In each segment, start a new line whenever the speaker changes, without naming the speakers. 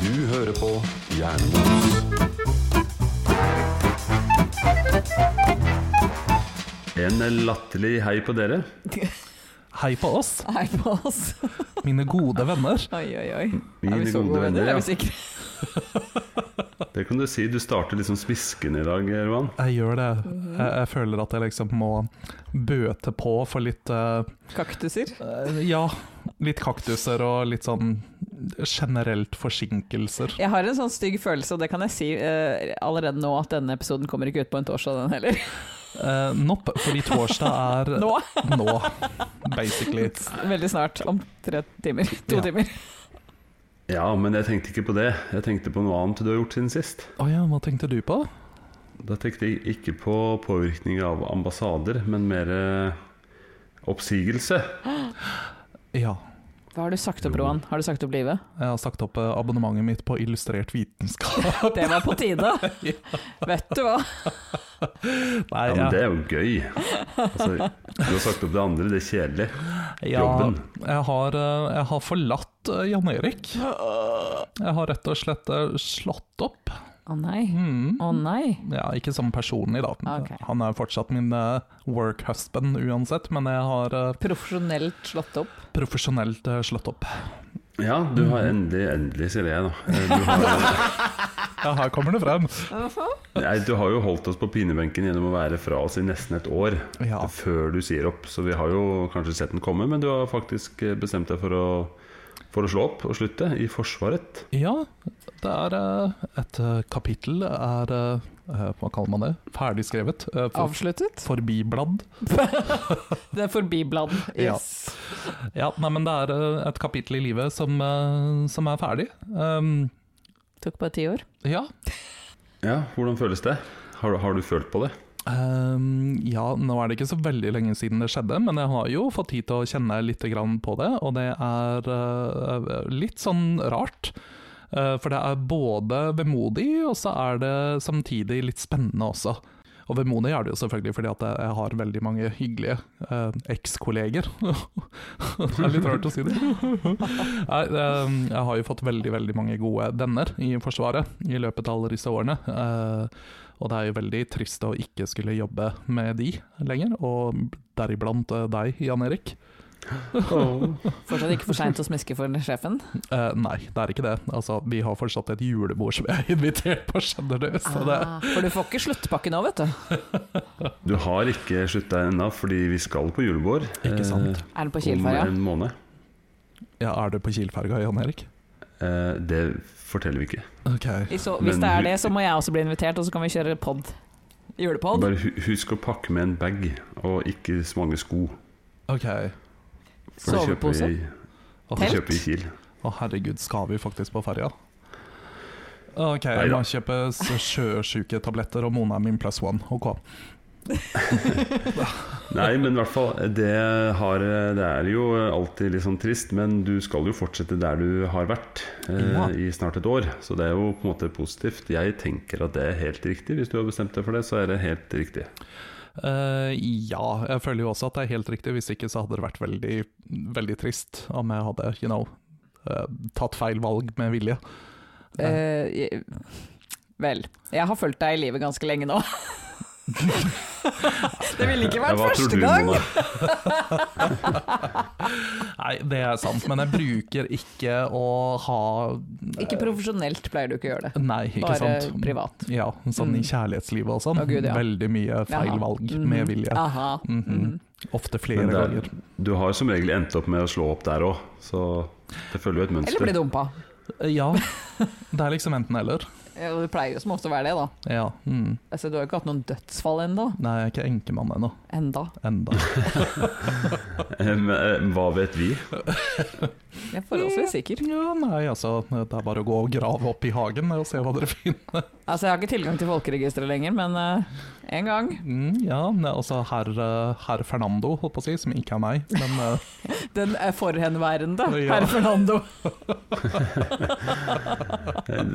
Du hører på Jernmos.
En latterlig hei på dere.
Hei på oss,
Hei på oss.
mine gode venner.
Oi, oi, oi.
Mine
er vi så
gode
gode
venner,
venner?
ja.
Er vi sikre?
Det kan du si. Du starter liksom smiskende i dag, Roan.
Jeg gjør det.
Mhm.
Jeg, jeg føler at jeg liksom må bøte på for litt eh,
Kaktuser.
eh, Ja, litt kaktuser og litt sånn generelt forsinkelser.
Jeg har en sånn stygg følelse, og det kan jeg si eh, allerede nå, at denne episoden kommer ikke ut på en torsdag, den heller.
Uh, nopp, fordi torsdag er
Nå!
nå, basically.
Veldig snart. Om tre timer. To
Ja.
timer.
Ja, men jeg tenkte ikke på det. Jeg tenkte på noe annet du har gjort siden sist.
Å ja, hva tenkte du på?
Da tenkte jeg ikke på påvirkning av ambassader, men mer eh, oppsigelse.
Ja,
Hva har du sagt opp, Roan? Har du sagt opp livet?
jeg har sagt opp eh, abonnementet mitt på Illustrert vitenskap.
Det var på tide. Vet du hva?
Nei,
Ja,
jeg-
men det er jo gøy. Altså, du har sagt opp det andre, det er kjedelig.
Ja,
Jobben.
Jeg har, eh, jeg har forlatt eh, Jan Erik. Jeg har rett og slett eh, slått opp.
Å nei.
Mm.
Å nei.
Ja, ikke som personlig, da.
Ok.
Han er fortsatt min eh, work husband uansett, men jeg har eh,
Profesjonelt slått opp.
profesjonelt eh, slått opp.
Ja, du har endelig Endelig, sier jeg, da. Eh, Du har,
Ja, her kommer det frem.
nei, du har jo holdt oss på pinebenken gjennom å være fra oss i nesten et år
Ja.
før du sier opp. Så vi har jo kanskje sett den komme, men du har faktisk eh, bestemt deg for å, for å slå opp og slutte i Forsvaret.
Ja, det er eh, et eh, kapittel er eh, eh, Hva kaller man det? Ferdigskrevet. eh, for,
Avsluttet.
forbiblad.
Det er forbiblad. Yes.
Ja, nei, men det er eh, et kapittel i livet som, eh, som er ferdig. Um,
Tok bare ti år.
ja,
Ja, hvordan føles det? Har, du- har du følt på det?
Ehm, ja, nå er det ikke så veldig lenge siden det skjedde, men jeg har jo fått tid til å kjenne litt grann på det, og det er eh, litt sånn rart. Eh, for det er både vemodig, og så er det samtidig litt spennende også. Og vemodig er det jo selvfølgelig fordi at jeg- jeg har veldig mange hyggelige eh, ekskolleger. det er litt rart å si det. Nei, ehm, jeg har jo fått veldig, veldig mange gode venner i Forsvaret i løpet av alle disse årene. Eh, og det er jo veldig trist å ikke skulle jobbe med de lenger, og deriblant eh, deg, Jan Erik.
Fortsatt ikke for seint å smiske for sjefen.
Eh, nei, det er ikke det. Altså, vi har fortsatt et julebord som jeg er invitert på, skjønner du. Så det,
Ah, for du får ikke sluttpakke nå, vet du.
Du har ikke slutta ennå, fordi vi skal på julebord.
Ikke sant.
eh,
Er den på
Om
Kielferja?
en måned.
ja, er du på Kielferga, Jan Erik?
Eh, det forteller vi ikke.
Ok.
I Så, hvis
Men
det
hu-
er det, så må jeg også bli invitert, og så kan vi kjøre pod. Julepod.
Bare hu- husk å pakke med en bag, og ikke så mange sko.
ok.
For det kjøper
Sovepose.
vi,
Å,
det
Telt?
kjøper vi i Kiel.
Å herregud, skal vi faktisk på ferja? Ok,
Neida.
jeg må kjøpe s- sjøsjuketabletter, og Mona er min pluss one. Ok.
Nei, men i hvert fall, det, har, det er jo alltid litt sånn trist, men du skal jo fortsette der du har vært eh,
Ja.
i snart et år. Så det er jo på en måte positivt. Jeg tenker at det er helt riktig. Hvis du har bestemt deg for det, så er det helt riktig.
Eh, ja, jeg føler jo også at det er helt riktig. Hvis ikke så hadde det vært veldig, veldig trist om jeg hadde, you know, eh, tatt feil valg med vilje.
Eh, jeg- vel, jeg har fulgt deg i livet ganske lenge nå. det ville ikke vært
Hva tror du,
første gang.
Mona?
Nei, det er sant, men jeg bruker ikke å ha eh,
Ikke profesjonelt pleier du ikke å gjøre det.
Nei, ikke
Bare
sant.
privat. Mm.
Ja, sånn i kjærlighetslivet og sånn.
Å, Gud, ja.
Veldig mye feil
Jaha.
valg
Mhm.
med vilje.
Aha.
Mhm. Ofte
Men
flere
det er-
ganger.
du har som regel endt opp med å slå opp der òg, så det følger jo et
Eller bli
mønster.
dumpa.
Ja, det er liksom enten-eller.
Ja, Det pleier jo som ofte å være det, da.
Ja. Mm.
Altså, du har jo ikke hatt noen dødsfall ennå.
Nei, jeg er ikke enkemann ennå.
Enda.
Enda.
Men, eh, Hva vet vi?
Jeg er forholdsvis sikker.
Ja, nei, altså, det er bare å gå og grave opp i hagen og se hva dere finner.
Altså, jeg har ikke tilgang til folkeregisteret lenger, men eh, en gang.
Mm, ja, ne, altså herr her Fernando, holdt på å si, som ikke er meg. Men eh,
Den er forhenværende,
Ja.
herr Fernando.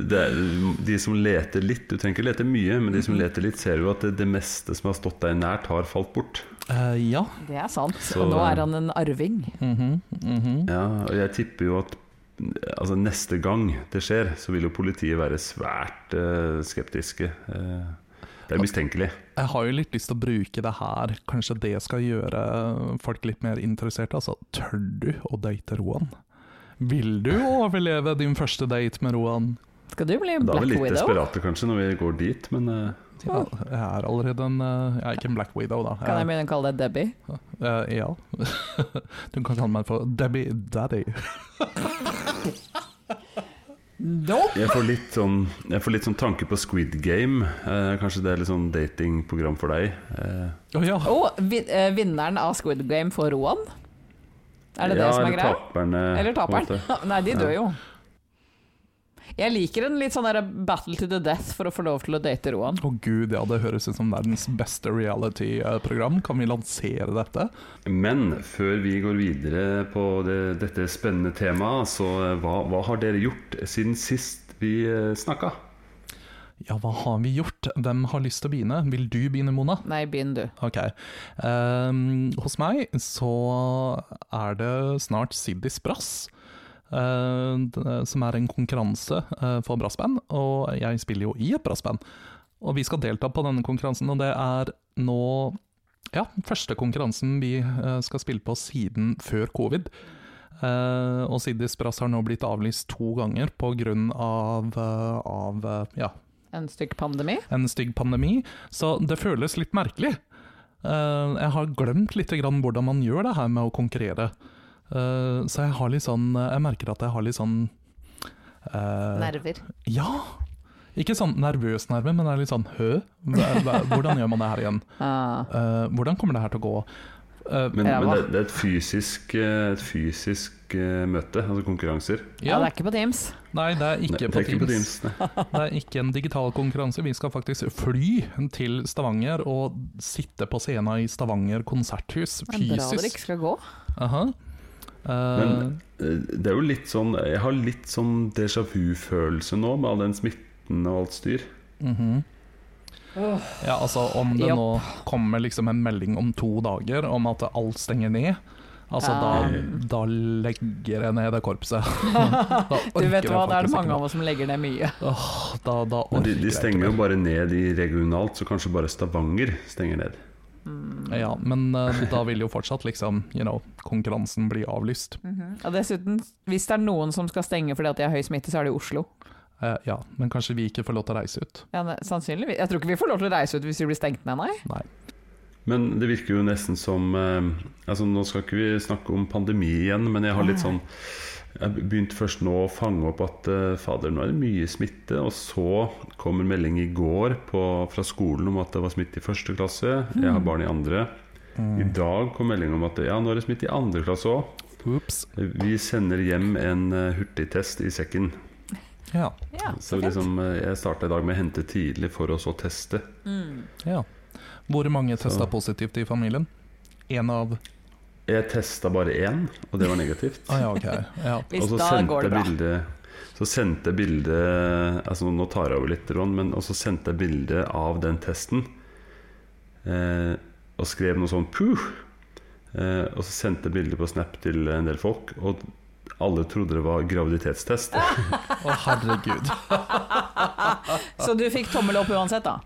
Det, er- de som leter litt, du trenger ikke lete mye, men de
Mhm.
som leter litt, ser jo at det, det meste som har stått deg nært, har falt bort.
Eh, ja.
Det er sant.
Så-
og nå er han en arving.
Mhm, mhm.
Ja, og jeg tipper jo at altså, neste gang det skjer, så vil jo politiet være svært eh, skeptiske. Eh, det er mistenkelig.
Jeg har jo litt lyst til å bruke det her. Kanskje det skal gjøre folk litt mer interesserte. Altså, tør du å date Roan? Vil du overleve din første date med Roan?
Skal du bli
Da er
Black
vi litt
Widow?
desperate kanskje når vi går dit, men eh,
Ja, jeg er allerede en eh, Jeg er ikke en Black Widow, da.
Kan jeg
Jeg,
begynne å kalle deg Debbie?
eh, ja. Du kan kalle meg for Debbie Daddy.
Nope!
jeg får litt sånn, jeg får litt sånn tanke på Squid Game. Eh, kanskje det er litt sånn datingprogram for deg. Eh,
Å ja.
Og vi, eh, vinneren av Squid Game får Roan? Er det
ja,
det som er
eller
greia?
Taperne,
Eller
på en
taperen?
måte.
Nei, de dør
Ja.
jo. Jeg liker en litt sånn der battle to the death for å få lov til å date Roan.
Å gud, ja, det høres ut som verdens beste reality-program. Kan vi lansere dette?
Men før vi går videre på det, dette spennende temaet, så eh, hva, hva har dere gjort siden sist vi eh, snakka?
Ja, hva har vi gjort? Hvem har lyst til å begynne? Vil du begynne, Mona?
Nei, begynn du.
Ok. Ehm, hos meg så er det snart Siddis Brass. eh, d- som er en konkurranse eh, for brassband, og jeg spiller jo i et brassband. Og vi skal delta på denne konkurransen, og det er nå ja, første konkurransen vi eh, skal spille på siden før covid. Eh, og Siddis Brass har nå blitt avlyst to ganger pga. Av, eh, av eh, ja,
En stykk pandemi?
en stygg pandemi, så det føles litt merkelig. Eh, jeg har glemt litt grann hvordan man gjør det her med å konkurrere. Eh, så jeg har litt sånn Jeg merker at jeg har litt sånn eh,
Nerver.
Ja! Ikke sånn nervøs nerve, men det er litt sånn hø? Hva- hva- Hvordan gjør man det her igjen?
Ah.
Eh, hvordan kommer det her til å gå? Eh,
Men,
Ræva.
men det, det er et fysisk, eh, et fysisk eh, møte, altså konkurranser.
Ja.
ja,
det er ikke på Teams.
nei, det er ikke,
Nei, det
på,
er ikke på
Teams.
Teams, nei.
Det er ikke en digital konkurranse. Vi skal faktisk fly til Stavanger og sitte på scenen i Stavanger konserthus,
Det er bra dere
fysisk.
ikke skal gå.
Aha. Eh,
Men- Eh, Det er jo litt sånn Jeg har litt sånn déjà vu-følelse nå, med all den smitten og alt styr.
mhm. Ja, altså Om det
Jopp.
nå kommer liksom en melding om to dager om at alt stenger ned, altså
Ja.
da, da legger jeg ned det korpset.
Du vet hva, det er det mange av oss som legger ned mye.
oss Da, da
Men
orker
de,
jeg
de
ikke
stenger
mer.
jo bare ned i regionalt, så kanskje bare Stavanger stenger ned.
Ja, men eh, da vil jo fortsatt liksom, you know, konkurransen bli avlyst.
Og dessuten, hvis det er noen som skal stenge fordi at de har høy smitte, så er det i Oslo.
Eh, ja, men kanskje vi ikke får lov til å reise ut.
Ja, ne- sannsynligvis. Jeg tror ikke vi får lov til å reise ut hvis vi blir stengt ned, nei.
Nei.
Men det virker jo nesten som eh, Altså Nå skal ikke vi snakke om pandemi igjen, men jeg har litt sånn Jeg har begynt først nå å fange opp at eh, fader, nå er det mye smitte. Og så kom en melding i går på, fra skolen om at det var smitte i første klasse. Jeg har barn i andre. I dag kom melding om at ja, nå er det smitte i andre klasse òg.
Ops.
Vi sender hjem en eh, hurtigtest i sekken.
Ja.
Ja,
Så liksom, eh, jeg starta i dag med å hente tidlig for å så teste.
ja. Hvor mange
Så-
testa positivt i familien? Én av
Jeg testa bare én, og det var negativt.
ah, ja, ok. Ja.
Hvis
Og så
da
sendte
går det
jeg
bra.
Bilde, så sendte jeg bilde altså Nå tar jeg over litt, Ron, men og så sendte jeg bilde av den testen. Eh, og skrev noe sånn puh! Eh, og så sendte jeg bilde på Snap til en del folk, og alle trodde det var graviditetstest.
Å, herregud.
Så du fikk tommel opp uansett, da?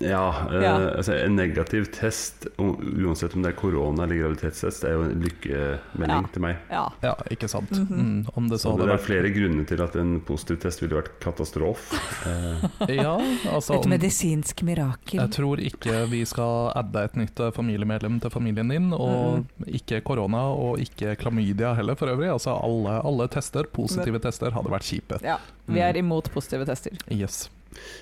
Ja, eh,
Ja.
Altså, En negativ test, u- uansett om det er korona eller graviditetstest, det er jo en lykkemelding
Ja.
til meg.
Ja.
Ja, ikke sant. mm, om det
Så
så hadde
det er
vært
flere grunner til at en positiv test ville vært katastrofe. Eh,
Ja, altså om,
medisinsk mirakel.
Jeg tror ikke vi skal adde et nytt eh, familiemedlem til familien din. Og ikke korona, og ikke klamydia heller, for øvrig. Altså alle, alle tester, positive tester, hadde vært kjipe.
Ja, vi
Mm.
er imot positive tester.
Yes.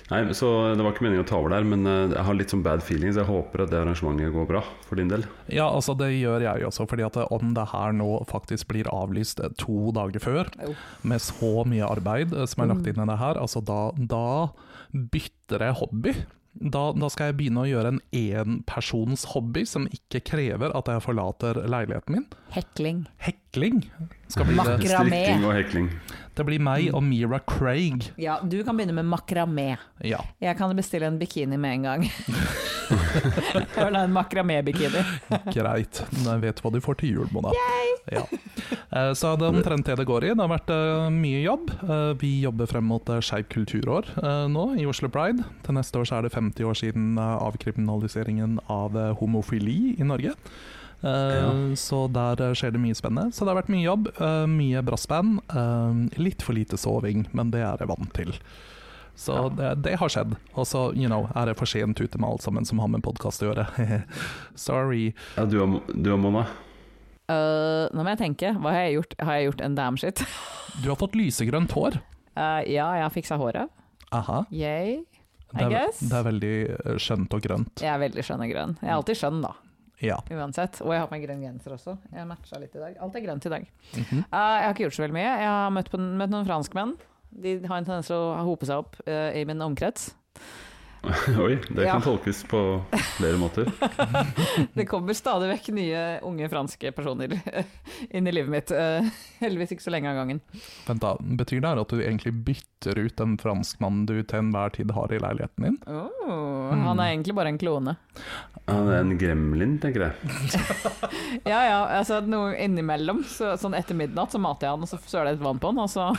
Nei, så Det var ikke meningen å ta over der, men eh, jeg har litt sånn bad feelings. Jeg håper at det arrangementet går bra for din del.
Ja, altså det gjør jeg også, fordi at eh, om det her nå faktisk blir avlyst eh, to dager før,
Jo.
med så mye arbeid eh, som er lagt inn i det her, altså da, da bytter jeg hobby. Da, da skal jeg begynne å gjøre en enpersons hobby som ikke krever at jeg forlater leiligheten min.
Hekling.
Hek strikling. Skal bli det.
Makramé.
Strikking og hekling.
det blir meg og Mira Craig.
Ja, du kan begynne med makramé.
Ja.
Jeg kan bestille en bikini med en gang. jeg vil ha en makramé-bikini.
Greit, jeg vet hva du får til jul, Mona. Ja. Eh, Så det er omtrent det det går i. Det har vært eh, mye jobb. Eh, Vi jobber frem mot eh, Skeiv kulturår eh, nå i Oslo Pride. Til neste år så er det 50 år siden eh, avkriminaliseringen av eh, homofili i Norge. Eh,
Ja.
Så der eh, skjer det mye spennende. Så det har vært mye jobb, eh, mye brassband. eh, Litt for lite soving, men det er jeg vant til. Så det, det har skjedd. Og så you know, er jeg for sent ute med alt sammen som har med podkast å gjøre. Sorry.
Ja, du og, du og Mona?
Øh, nå må jeg tenke. Hva har jeg gjort? Har jeg gjort en damn shit?
Du har fått lysegrønt hår.
Øh, ja, jeg har fiksa håret.
Aha.
Yay. I
Det er,
guess.
det er veldig eh, skjønt og grønt.
Jeg er veldig skjønn og grønn. Jeg er alltid skjønn, da.
Ja.
Uansett. Og jeg har på meg grønn genser også. Jeg matcha litt i dag. Alt er grønt i dag.
Mhm.
Eh, jeg har ikke gjort så veldig mye. Jeg har møtt, på, møtt noen franskmenn. De har en tendens til å hope seg opp eh, i min omkrets.
Oi, det
Ja.
kan tolkes på flere måter.
Det kommer stadig vekk nye unge franske personer eh, inn i livet mitt. eh, heldigvis ikke så lenge av gangen.
Vent da, Betyr det her at du egentlig bytter ut den franskmannen du til enhver tid har i leiligheten din?
Oh, Han er egentlig bare en klone.
Ja, det er en gremlin, tenker jeg.
Ja ja, altså noe innimellom. Så, sånn etter midnatt så mater jeg han, og så søler jeg litt vann på han, og så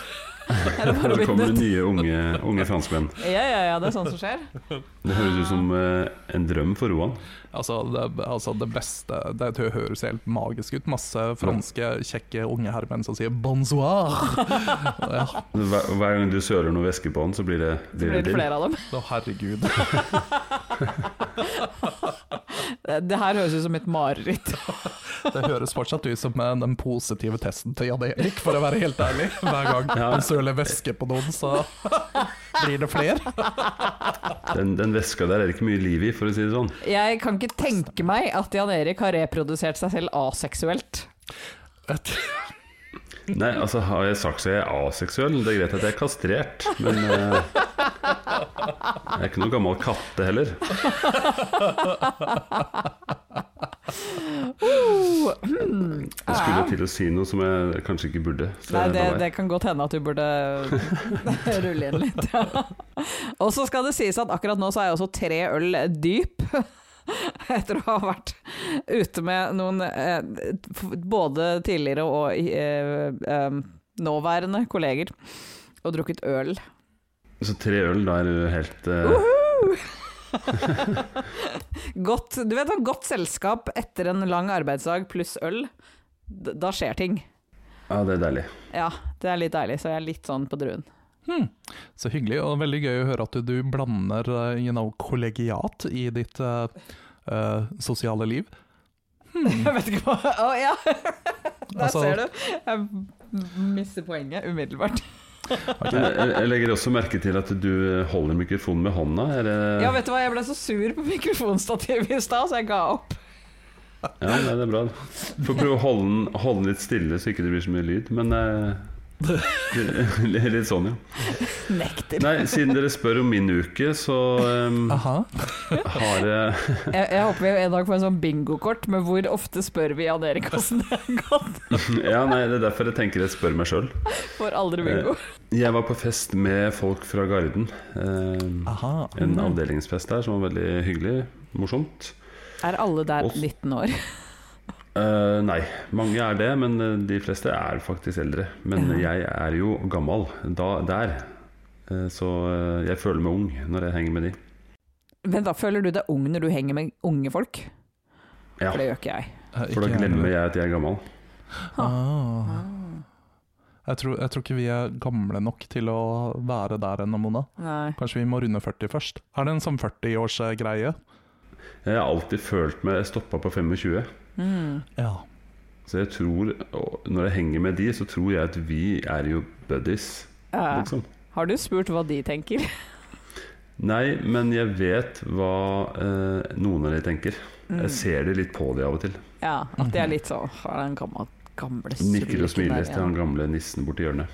er det
Og
bare å
det
bytte
kommer
ut.
nye unge, unge franskmenn.
Ja ja ja, det er sånt som skjer.
Det høres ut som eh, en drøm for Roan.
Altså det, altså det beste Det hø- høres helt magisk ut. Masse franske, kjekke unge herremenn som sier 'bonsoir'. Ja,
Hver, hver gang du søler noe væske på den, så blir det,
Så blir det flere av dem.
å, herregud.
Det, det her høres ut som mitt mareritt.
Det høres fortsatt ut som eh, den positive testen til Jan Erik, for å være helt ærlig. Hver gang han søler væske på noen, så blir det flere.
Den, den væska der er det ikke mye liv i, for å si det sånn.
Jeg kan ikke tenke meg at Jan Erik har reprodusert seg selv aseksuelt.
Nei, altså har jeg sagt så jeg er aseksuell? Det er greit at jeg er kastrert, men eh, Jeg er ikke noen gammel katte heller. Jeg skulle til å si noe som jeg kanskje ikke burde. så
Nei,
jeg
det,
lar
det
være.
kan godt hende at du burde rulle inn litt. og så skal det sies at akkurat nå så er jeg også tre øl dyp. Etter å ha vært ute med noen eh, f- både tidligere og eh, eh, nåværende kolleger og drukket øl.
Så tre øl, da er du helt eh,
Godt, du vet hva, godt selskap etter en lang arbeidsdag pluss øl, d- da skjer ting.
Ja, det er deilig.
Ja, det er litt deilig, så jeg er litt sånn på druen.
Så hyggelig, og veldig gøy å høre at du, du blander eh, you know, kollegiat i ditt eh, eh, sosiale liv.
Jeg vet ikke hva Å ja! Der
Altså-
ser du. Jeg mister poenget umiddelbart.
Men eh, jeg, jeg legger også merke til at du holder mikrofonen med hånda. Er det,
Ja, vet du hva, jeg ble så sur på mikrofonstativet i stad, så jeg ga opp.
Ja, nei, det er bra. Du får prøve å holde den, holde den litt stille, så ikke det blir så mye lyd. Men eh, litt sånn, ja.
Nekter.
Nei, siden dere spør om min uke, så eh,
Aha.
Ah.
har jeg
Jeg, jeg håper vi en dag får en sånn bingokort med hvor ofte spør vi Jan Erik åssen det har gått.
Ja, nei, det er derfor jeg tenker jeg spør meg sjøl.
Får aldri bingo.
Jeg var på fest med folk fra Garden. eh,
Aha.
en avdelingsfest der som var veldig hyggelig. Morsomt.
Er alle der
Oss.
19 år?
Eh, nei, mange er det, men eh, de fleste er faktisk eldre. Men jeg er jo gammel da, der, Eh, så eh, jeg føler meg ung når jeg henger med de.
Men da føler du deg ung når du henger med unge folk?
Ja,
For det gjør ikke jeg.
Eh,
for da
ikke
glemmer
heller.
jeg at jeg er gammel.
Ah. Jeg, tror, jeg tror ikke vi er gamle nok til å være der ennå, Mona.
Nei.
Kanskje vi må runde 40 først? Er det en sånn 40-årsgreie?
Jeg har alltid følt meg stoppa på 25.
Mm.
Ja.
Så jeg tror, og når jeg henger med de, så tror jeg at vi er jo buddies,
Eh,
liksom.
har du spurt hva de tenker?
Nei, men jeg vet hva
Mm.
eh, noen av de tenker. Jeg ser det litt på de av og til.
Ja, at de er litt sånn Er det en gammel, gamle
Nikker og
sulken der
smiler til
igjen.
han gamle nissen borti hjørnet.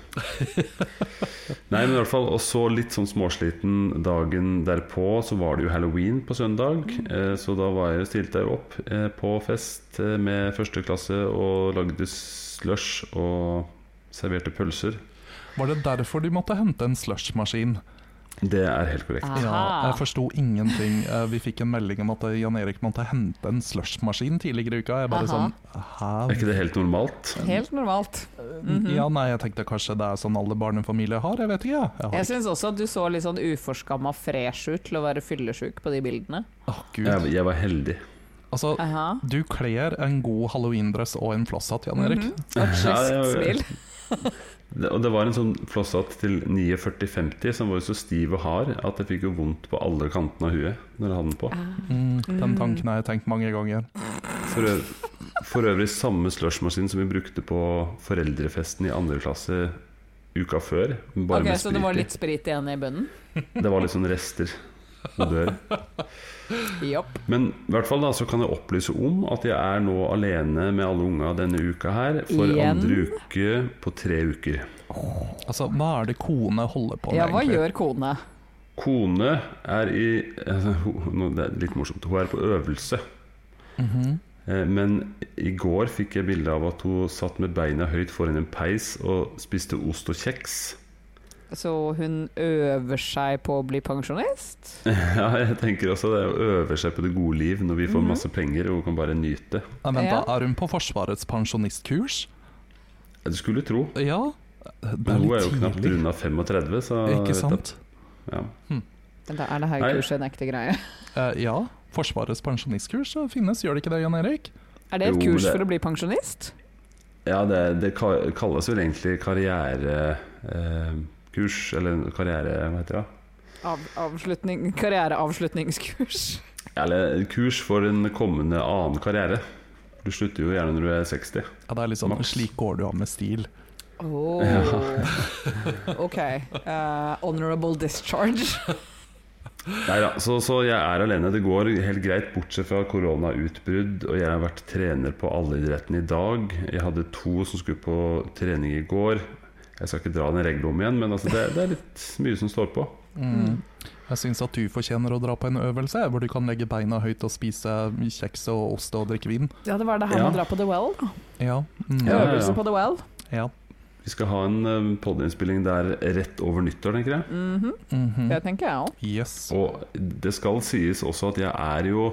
Nei, men i hvert fall Og så litt sånn småsliten dagen derpå, så var det jo halloween på søndag. Eh, så da var jeg, stilte jeg jo opp eh, på fest eh, med første klasse og lagde slush og serverte pølser.
Var det derfor de måtte hente en slushmaskin?
Det er helt korrekt.
Aha.
Ja, jeg forsto ingenting. Eh, Vi fikk en melding om at Jan Erik måtte hente en slushmaskin tidligere i uka. Jeg bare
Aha.
sånn Hæ?
Er ikke det helt normalt?
Helt normalt. Mhm.
Ja, nei, jeg tenkte kanskje det er sånn alle barnefamilier har. Jeg vet ikke, jeg. jeg har
Jeg syns også at du så litt sånn uforskamma fresh ut til å være fyllesjuk på de bildene.
Å, Gud.
Jeg, jeg var heldig.
Altså,
Aha.
du kler en god halloween-dress og en flosshatt, Jan Erik.
Mhm. Og et
Ja,
slags
det var-
smil.
Det, og det var en sånn flosshatt til 49,50 som var jo så stiv og hard at jeg fikk jo vondt på alle kantene av huet når jeg hadde den på.
Ah.
Mm, den
Mhm.
tanken har jeg tenkt mange ganger.
For, øv, for øvrig samme slushmaskin som vi brukte på foreldrefesten i andre klasse uka før. Bare
Ok,
med
Så det var litt
sprit i.
sprit igjen i bunnen?
Det var litt sånn rester. og Dør.
Jopp.
Men i hvert fall da så kan jeg opplyse om at jeg er nå alene med alle unga denne uka her. For
Igjen?
andre uke på tre uker.
Altså, hva er det kone holder på med,
Ja, hva gjør kone?
Kone er i altså, hun- nå- Det er litt morsomt. Hun er på øvelse.
Mhm.
Eh, Men i går fikk jeg bilde av at hun satt med beina høyt foran en peis og spiste ost og kjeks.
Så hun øver seg på å bli pensjonist?
Ja, jeg tenker også det å øve seg på det gode liv når vi får
Mhm.
masse penger og hun kan bare nyte.
Nei, vent, da.
Ja.
Er hun på Forsvarets pensjonistkurs?
Du skulle tro.
Ja. Det er
Men hun er jo
litt
knapt
tidlig.
runda 35, så
Ikke
vet
sant?
at- Ja.
Da er det her
Nei.
kurset en ekte greie.
Eh, ja. Forsvarets pensjonistkurs eh, finnes, gjør det ikke det, Jan Erik?
Er det et
Jo, men
kurs
det-
for å bli pensjonist?
ja, det, det ka- kalles vel egentlig karrierekurs, eh, kurs, eller karriere... Hva heter det?
Av, avslutning, karriereavslutningskurs.
Eller kurs for en kommende annen karriere. Du slutter jo gjerne når du er 60.
Ja, det er litt sånn
Maks.
Slik går du av med stil.
Oh. Ok. eh, honorable discharge.
Nei da, så, så jeg er alene. Det går helt greit, bortsett fra koronautbrudd. Og jeg har vært trener på alle idrettene i dag. Jeg hadde to som skulle på trening i går. Jeg skal ikke dra den regelen om igjen, men altså det, det er litt mye som står på.
Mm. Jeg syns at du fortjener å dra på en øvelse hvor du kan legge beina høyt og spise kjeks og ost og drikke vin.
Ja, det var det her
Ja.
med å dra på The Well.
Ja. Mm.
Ja.
Øvelse på The Well.
ja.
Vi skal ha en podiinnspilling der rett over nyttår, tenker jeg.
Mhm,
Mhm.
Det tenker jeg òg.
Yes.
Og det skal sies også at jeg er jo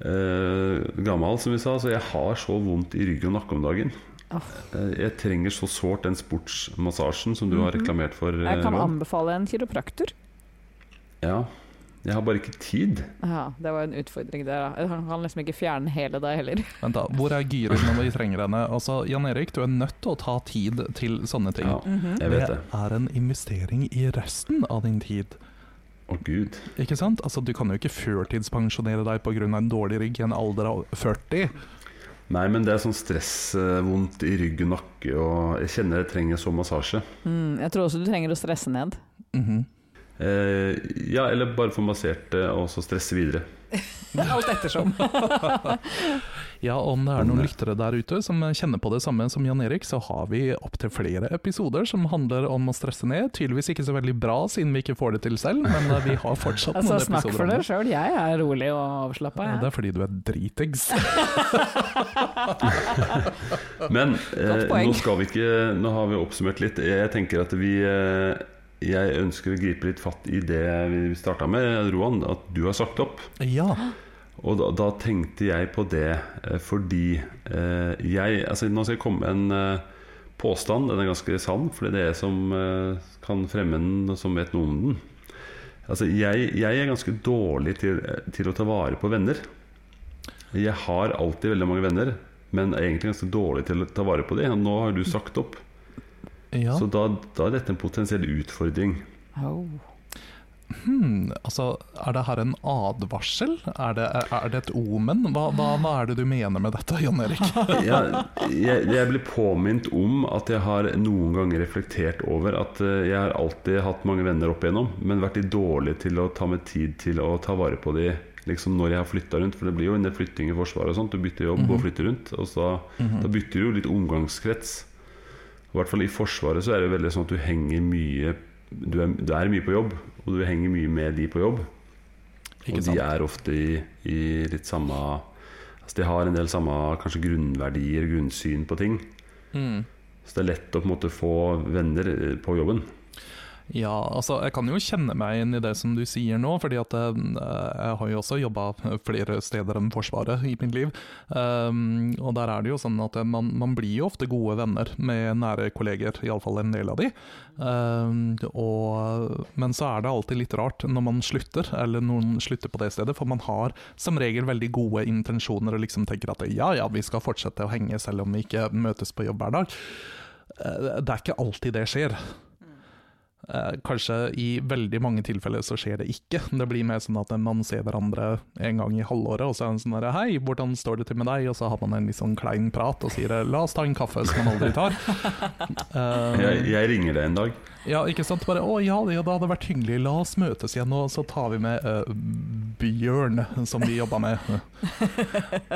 eh, gammel, som vi sa, så jeg har så vondt i rygg og nakke om dagen.
Åh.
Eh, Jeg trenger så sårt den sportsmassasjen som du har reklamert for. eh,
Mhm. Jeg kan
Roan.
anbefale en kiropraktor.
Ja, jeg har bare ikke tid.
Ja, det var en utfordring der, da. Han kan liksom ikke fjerne hele deg heller.
Vent, da. Hvor er Gyrid når vi trenger henne? Altså, Jan Erik, du er nødt til å ta tid til sånne ting.
Ja,
Mhm.
jeg vet det.
er en investering i resten av din tid.
Å gud.
Ikke sant? Altså, du kan jo ikke førtidspensjonere deg pga. en dårlig rygg i en alder av 40.
Nei, men det er sånn stressvondt i rygg og nakke, og jeg kjenner jeg trenger så massasje.
Mm, jeg tror også du trenger å stresse ned.
Mhm.
Eh, ja, eller bare få massert det, og så stresse videre.
Alt ettersom.
Ja, om det er noen
Men-
lyttere der ute som kjenner på det samme som Jan Erik, så har vi opptil flere episoder som handler om å stresse ned. Tydeligvis ikke så veldig bra siden vi ikke får det til selv, men eh, vi har fortsatt
Altså,
noen episoder.
snakk for
om
deg
det.
sjøl, jeg er rolig og avslappa.
Ja, det er fordi du er dritings.
Men
Godt
eh,
poeng.
nå skal vi ikke Nå har vi oppsummert litt. Jeg tenker at vi eh, Jeg ønsker å gripe litt fatt i det vi starta med, Roan, at du har sagt opp.
Ja.
Og da, da tenkte jeg på det eh, fordi eh, jeg altså Nå skal jeg komme med en eh, påstand. Den er ganske sann, for det er jeg som eh, kan fremme den, og som vet noe om den. Altså, jeg, jeg er ganske dårlig til, eh, til å ta vare på venner. Jeg har alltid veldig mange venner, men er egentlig ganske dårlig til å ta vare på dem. Nå har du sagt opp,
ja.
så da, da er dette en potensiell utfordring.
Oh.
Hmm, altså, er det her en advarsel? Er det, er det et omen? Hva, hva, hva er det du mener med dette, Jan Erik?
jeg, jeg, jeg blir påminnet om at jeg har noen ganger reflektert over at eh, jeg har alltid hatt mange venner opp igjennom, men vært litt dårlig til å ta meg tid til å ta vare på de liksom når jeg har flytta rundt. For det blir jo en del flytting i Forsvaret og sånt. Du bytter jobb og flytter rundt. Og så, da bytter du jo litt omgangskrets. I hvert fall i Forsvaret så er det veldig sånn at du henger mye Du er, du er mye på jobb, og du henger mye med de på jobb.
Ikke
og de
sant?
er ofte i, i litt samme Altså De har en del samme kanskje grunnverdier, grunnsyn på ting.
Mm.
Så det er lett å på en måte få venner eh, på jobben.
Ja, altså jeg kan jo kjenne meg inn i det som du sier nå, fordi at eh, jeg har jo også jobba flere steder enn Forsvaret i mitt liv. Um, og der er det jo sånn at man, man blir jo ofte gode venner med nære kolleger, iallfall en del av de. Um, og, men så er det alltid litt rart når man slutter, eller noen slutter på det stedet, for man har som regel veldig gode intensjoner og liksom tenker at ja ja, vi skal fortsette å henge selv om vi ikke møtes på jobb hver dag. Eh, Det er ikke alltid det skjer. Eh, Kanskje i veldig mange tilfeller så skjer det ikke. Det blir mer sånn at man ser hverandre en gang i halvåret, og så er det sånn der, 'hei, hvordan står det til med deg?' Og så har man en litt sånn klein prat og sier 'la oss ta en kaffe', som man aldri tar. Eh,
Jeg, jeg ringer deg en dag.
ja, ikke sant? Bare 'å ja, det, ja, det hadde vært hyggelig, la oss møtes igjen', og så tar vi med eh, Bjørn, som vi jobba med.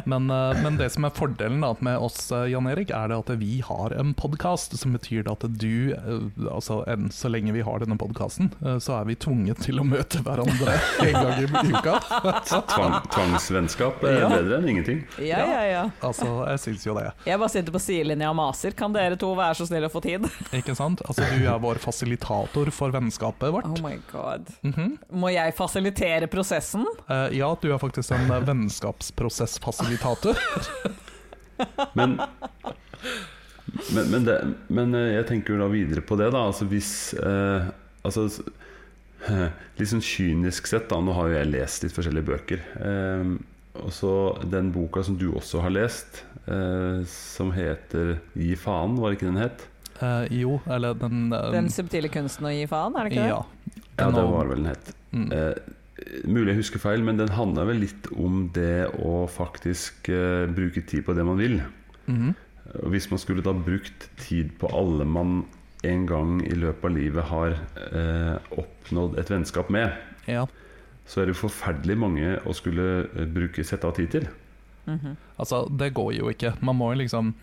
Men, eh, men det som er fordelen da, med oss, eh, Jan Erik, er det at vi har en podkast, som betyr det at du eh, Altså, enn så lenge vi har denne podkasten, så er vi tvunget til å møte hverandre en gang i uka.
Tvang, tvangsvennskap er
Ja.
bedre enn ingenting.
Ja, ja, ja.
Altså, jeg syns jo det.
Jeg bare sitter på sidelinja og maser. Kan dere to være så snille å få tid?
Ikke sant? Altså, du er vår fasilitator for vennskapet vårt.
Oh my god.
Mhm.
Må jeg fasilitere prosessen?
Eh, ja, du er faktisk en eh, vennskapsprosessfasilitator.
Men, men, men, det, men eh, jeg tenker jo da videre på det, da. Altså hvis eh, altså, s- Litt sånn kynisk sett, da. Nå har jo jeg lest litt forskjellige bøker. Eh, og så den boka som du også har lest, eh, som heter 'Gi faen', var ikke den het?
Eh, jo, eller den, eh,
Den subtile kunsten å gi faen, er det ikke
Ja.
Ja,
Den
det
om-
var vel den het.
Mm.
Eh, mulig jeg husker feil, men den handla vel litt om det å faktisk eh, bruke tid på det man vil.
Mhm.
Og Hvis man skulle da brukt tid på alle man en gang i løpet av livet har eh, oppnådd et vennskap med,
ja.
så er det forferdelig mange å skulle eh, bruke sette av tid til.
det? Mhm.
Altså, det går jo ikke. Man må jo liksom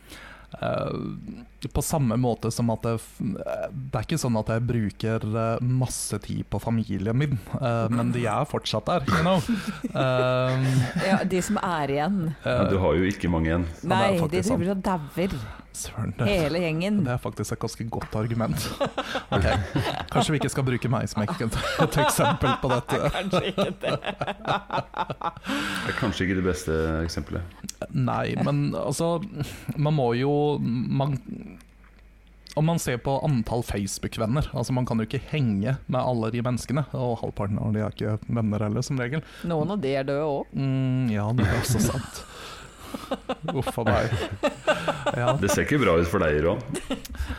eh, på samme måte som at det, f- eh, det er ikke sånn at jeg bruker eh, masse tid på familien min, eh, men de er fortsatt der, you know. Eh,
ja. De som er igjen.
eh,
Men du har jo ikke mange igjen.
Ja, det er
Nei, de
faktisk sant.
driver og dauer,
eh, Søren, det,
hele gjengen.
det er faktisk et ganske godt argument. Ok, Kanskje vi ikke skal bruke meg som ek- et eksempel på dette.
Kanskje ikke det.
Det er kanskje ikke det beste eksempelet.
Nei, men altså Man må jo man, Om man ser på antall Facebook-venner Altså Man kan jo ikke henge med alle de menneskene. Og halvparten av de er ikke venner heller, som regel.
Noen av de er døde òg.
Mm, ja, det er også sant. Uff a meg. Ja,
Det ser ikke bra ut for deg, Ron.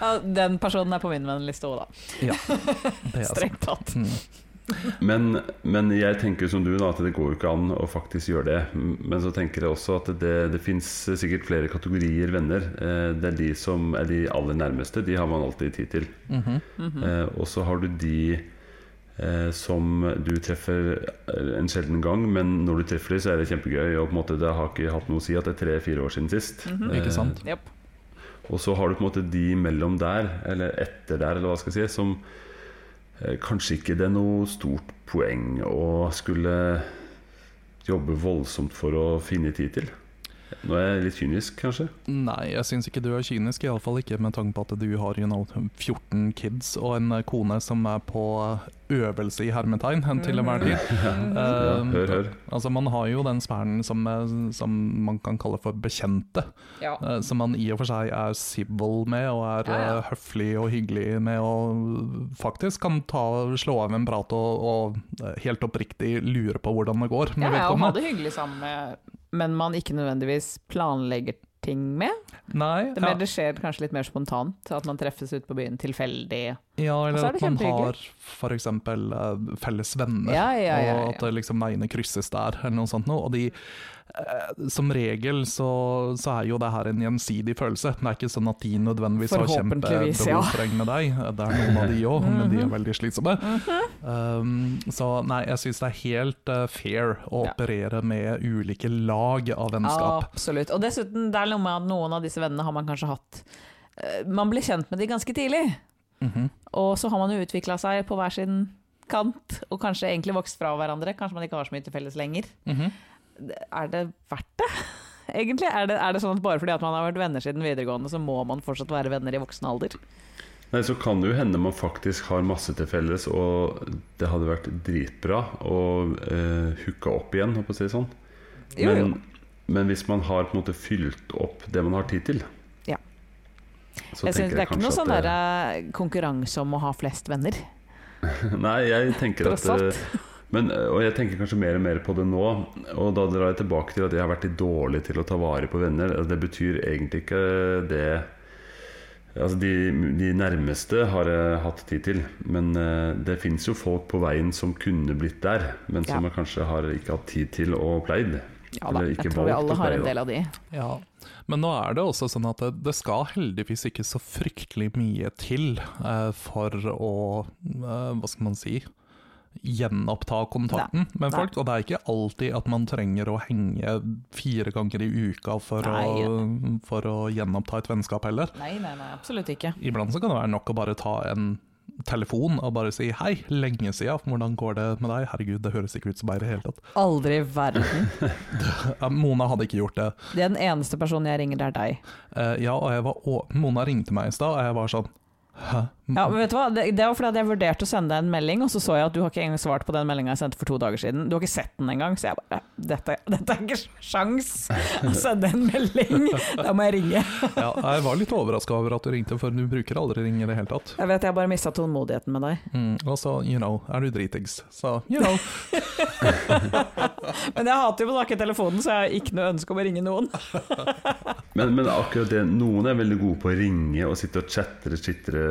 Ja, den personen er på min venneliste òg, da.
det er sant.
Strengt tatt.
Mm.
Men, men jeg tenker som du da, at det går jo ikke an å faktisk gjøre det. Men så tenker jeg også at det, det fins sikkert flere kategorier venner. Eh, Det er de som er de aller nærmeste. De har man alltid tid til.
Mhm.
Eh, Og så har du de eh, som du treffer eh, en sjelden gang, men når du treffer dem, så er det kjempegøy. Og på en måte det har ikke hatt noe å si at det er tre-fire år siden sist. Eh,
Ikke sant?
Japp.
og så har du på en måte de mellom der, eller etter der, eller hva skal jeg si, som eh, kanskje ikke det er noe stort poeng å skulle jobbe voldsomt for å finne tid til. Nå er jeg litt kynisk, kanskje.
Nei, jeg syns ikke du er kynisk, iallfall ikke med tanke på at du har you know, 14 kids og en eh, kone som er på øvelse i hermetegn til enhver tid.
Ja,
Eh,
hør, hør.
Altså, man har jo den sfæren som, eh, som man kan kalle for bekjente,
Ja.
eh, som man i og for seg er civil med, og er
Ja, ja.
eh, høflig og hyggelig med, og eh, faktisk kan ta, slå av en prat og, og eh, helt oppriktig lure på hvordan det går med
Ja, ja, og ha
vedkommende.
det hyggelig sammen med Men man ikke nødvendigvis planlegger ting med.
Nei,
Det,
ja.
mer, det skjer kanskje litt mer spontant, at man treffes ute på byen tilfeldig.
Ja,
Og
eller
så er
at
det
man har
kjempehyggelig.
f.eks. felles venner,
Ja, ja, ja,
og
ja.
at eh, liksom veiene krysses der, eller noe sånt noe. Og de eh, som regel så, så er jo det her en gjensidig følelse. Det er ikke sånn at de nødvendigvis har
Forhåpentligvis, ja. Mhm.
kjempebehov for å regne deg. Det er noen av de òg, men de er veldig slitsomme. Um, så nei, jeg syns det er helt eh, fair å
Ja.
operere med ulike lag av vennskap.
Absolutt. Og dessuten, det er noe med at noen av disse vennene har man kanskje hatt eh, Man blir kjent med de ganske tidlig,
Mhm.
og så har man jo utvikla seg på hver sin kant, og kanskje egentlig vokst fra hverandre. Kanskje man ikke har så mye til felles lenger.
Mhm.
Er det verdt det? Egentlig, er det, er det sånn at Bare fordi at man har vært venner siden videregående, så må man fortsatt være venner i voksen alder?
Nei, så kan det jo hende man faktisk har masse til felles, og det hadde vært dritbra å eh, hooke opp igjen, holdt på å si det sånn.
Jo, jo.
Men, men hvis man har på en måte fylt opp det man har tid til
Ja.
så
jeg synes,
tenker
det er ikke
kanskje
noe sånn
at det-
derre konkurranse om å ha flest venner.
Nei, jeg tenker at
Tross alt.
eh, men, eh, Og jeg tenker kanskje mer og mer på det nå. Og da drar jeg tilbake til at jeg har vært litt dårlig til å ta vare på venner. Altså, Det betyr egentlig ikke det Altså de, de nærmeste har jeg hatt tid til. Men eh, det fins jo folk på veien som kunne blitt der, men som
Ja.
jeg kanskje har ikke hatt tid til og pleid.
Ja da,
Eller
jeg
ikke
tror vi
valgt
alle
å
har en
pleie,
del av de.
Ja, men nå er det også sånn at det, det skal heldigvis ikke så fryktelig mye til eh, for å, eh, hva skal man si, gjenoppta kontakten med
nei.
folk. Og det er ikke alltid at man trenger å henge fire ganger i uka for, å, for å gjenoppta et vennskap heller.
Nei, nei, nei, absolutt ikke.
Iblant så kan det være nok å bare ta en telefon og bare si hei, lenge siden, hvordan går det med deg? Herregud, det høres ikke ut som meg i det hele tatt.
Aldri i verden.
Eh, Mona hadde ikke gjort det.
Den eneste personen jeg ringer, det er deg.
Eh, ja, og jeg var, å, Mona ringte meg i stad, og jeg var sånn Hæ?
Ja, men vet du hva? Det, det var fordi at jeg vurderte å sende deg en melding, og så så jeg at du har ikke engang svart på den meldinga jeg sendte for to dager siden. Du har ikke sett den engang, så jeg bare Dette, dette er ikke sjans å sende en melding! Da må jeg ringe.
Ja, jeg var litt overraska over at du ringte, for du bruker aldri ringe i det hele tatt.
Jeg vet jeg bare mista tålmodigheten med deg.
Mm, og så, you know, er du dritings. Så, you know.
Men jeg hater jo å snakke i telefonen, så jeg har ikke noe ønske om å ringe noen.
da. Men, men akkurat det, noen er veldig gode på å ringe og sitte og chatte chitre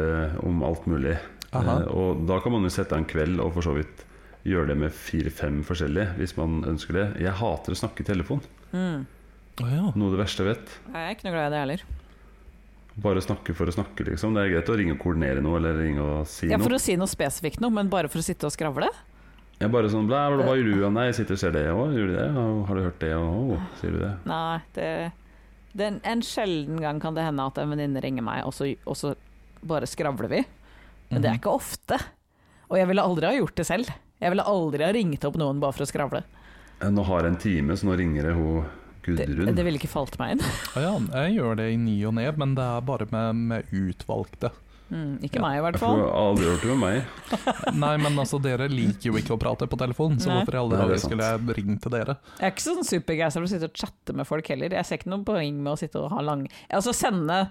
om alt mulig.
Aha.
Eh, Og da kan man jo sette av en kveld og for så vidt gjøre det med fire-fem forskjellige, hvis man ønsker det. Jeg hater å snakke i telefon.
Å ja.
Noe av det verste jeg vet.
Mm. Nei, Jeg er ikke noe glad i det heller.
Bare snakke for å snakke, liksom. Det er greit å ringe og koordinere noe, eller ringe og si
Ja, for
noe.
å si noe spesifikt noe, men bare for å sitte og skravle?
Jeg er bare sånn blæ, blæ, blæ, gjør du? Ja, Nei, jeg sitter og ser det òg, gjør du det? Ja, Har du hørt det òg? Sier du det?
Nei, det, det er en, en sjelden gang kan det hende at en venninne ringer meg, og så, og så bare skravler vi. Men
Mhm. Mm.
det er ikke ofte. Og jeg ville aldri ha gjort det selv. Jeg ville aldri ha ringt opp noen bare for å skravle.
Eh, Nå har jeg en time, så nå ringer det hun
Det,
Gudrun.
det ville ikke falt meg inn.
Å ja, jeg gjør det i ny og ne, men det er bare med, med utvalgte.
Mm, ikke
Ja.
meg, i hvert
jeg tror
fall.
jeg aldri hørt det med meg.
Nei, men altså, dere liker jo ikke å prate på telefon, så
Nei.
hvorfor i alle
Nei, det er
dager
sant.
skulle jeg ringt til dere?
Jeg er ikke sånn supergeistra for å sitte og chatte med folk heller. Jeg ser ikke noe poeng med å sitte og ha lang Altså sende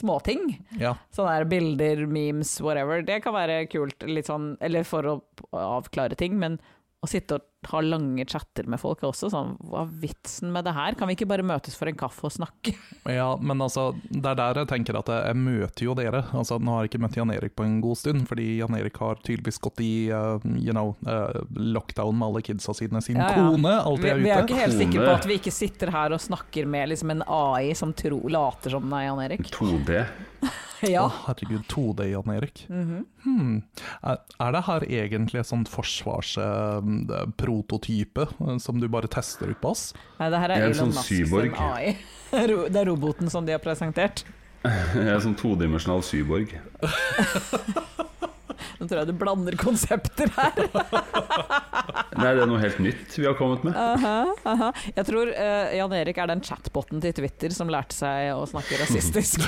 småting.
Ja.
Sånne her bilder, memes, whatever. Det kan være kult, litt sånn, eller for å avklare ting, men å sitte og ha lange chatter med folk er også sånn Hva er vitsen med det her? Kan vi ikke bare møtes for en kaffe og snakke?
Ja, men altså, det er der jeg tenker at jeg, jeg møter jo dere. Altså, Nå har jeg ikke møtt Jan Erik på en god stund, fordi Jan Erik har tydeligvis gått i eh, you know, eh, lockdown med alle kidsa sine, sin
Ja, ja.
kone
Vi,
alltid er ute.
vi er jo ikke helt sikre på
Kone.
at vi ikke sitter her og snakker med liksom en AI som tro, later som den er Jan Erik.
2D.
Ja.
Å, herregud, 2D, Jan Erik.
Mhm.
hmm. Er- Er det her egentlig et sånt forsvarsprototype eh, som du bare tester ut på oss?
Nei, det her
Jeg
er
er en
Elon
sånn
Musk sin
cyborg.
AI. Ro- Det er roboten som de har presentert.
Jeg er sånn todimensjonal syborg.
Nå tror jeg du blander konsepter her.
Nei, det er noe helt nytt vi har kommet med.
Aha, aha. Jeg tror eh, Jan Erik er den chatboten til Twitter som lærte seg å snakke rasistisk.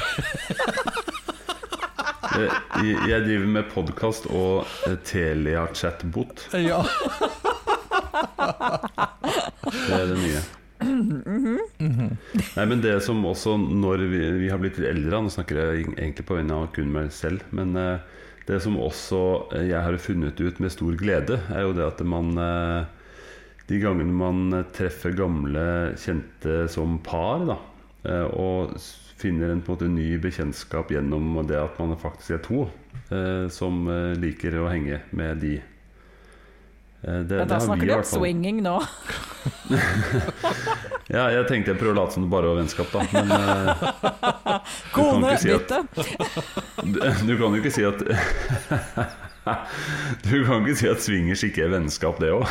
Eh, Jeg, jeg driver med podkast og eh, Telia-chatbot.
Ja.
Det er det nye.
Mhm.
Nei, men det som også når vi, vi har blitt litt eldre Nå snakker jeg egentlig på vegne av kun meg selv. Men eh, det som også eh, jeg har funnet ut med stor glede, er jo det at man eh, De gangene man eh, treffer gamle kjente som par, da, eh, og s- finner en på en måte ny bekjentskap gjennom det at man faktisk er to eh, som eh, liker å henge med de Eh, Det, det
Men da
har vi
snakker
i
de om
hvert fall.
swinging nå.
Ja, jeg tenkte jeg prøver å late som det bare var vennskap, da. Men eh, kan ikke si at-
Konebytte.
du- du kan jo ikke si at Du kan ikke si at swingers ikke er vennskap, det òg.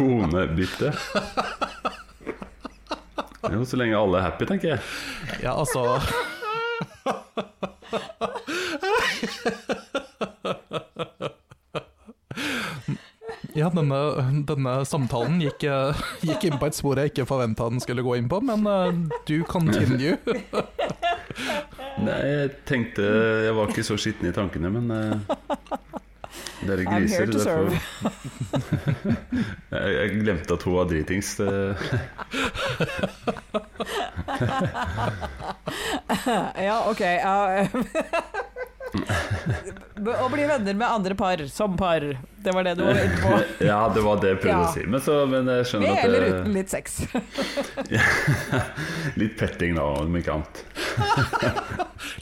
Konebytte. Jo, så lenge alle er happy, tenker jeg.
Ja, altså Ja, denne, denne samtalen gikk, eh, gikk inn på et spor jeg ikke forventa den skulle gå inn på, men eh, du continue.
Nei, jeg tenkte Jeg var ikke så skitten i tankene, men eh, Dere
I'm
griser.
here to
derfor- jeg, jeg glemte at hun var dritings. det-
Ja, ok. Ja. Å bli venner med andre par, som par. Det var det du var inne på.
Ja, det var det jeg prøvde
Ja.
å si. Men, så, men jeg skjønner
Med
Sånn at
eller
det-
uten litt sex.
Litt petting, da, om ikke annet.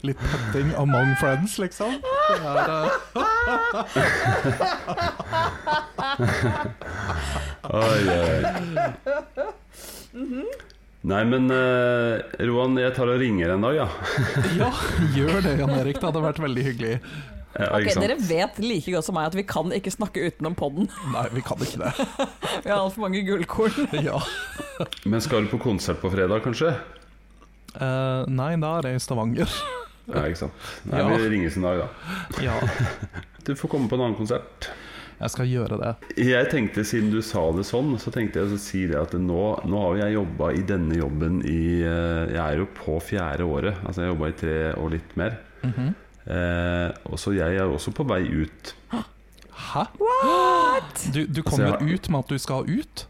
Litt petting among friends, liksom. Det er, eh,
Oi, oi.
Mhm.
Nei, men eh, Roan, jeg tar og ringer en dag, ja.
ja, gjør det, Jan Erik. Det hadde vært veldig hyggelig.
Eh,
Ok,
ikke sant?
dere vet like godt som meg at vi kan ikke snakke utenom podden.
Nei, vi kan ikke det.
Vi har altfor mange gullkorn.
Ja.
Men skal du på konsert på fredag, kanskje?
Eh, nei, da er jeg i Stavanger.
Ja, ikke sant. Nei,
Ja.
Vi ringes en dag, da.
Ja,
Du får komme på en annen konsert.
jeg skal gjøre det.
Jeg tenkte, siden du sa det sånn, så tenkte jeg å si det at nå, nå har jo jeg jobba i denne jobben i eh, Jeg er jo på fjerde året. Altså jeg har jobba i tre og litt mer.
Mhm.
Eh, og så jeg er også på vei ut.
Hæ? Du, du
Så
kommer
jeg-
ut med at du skal ut?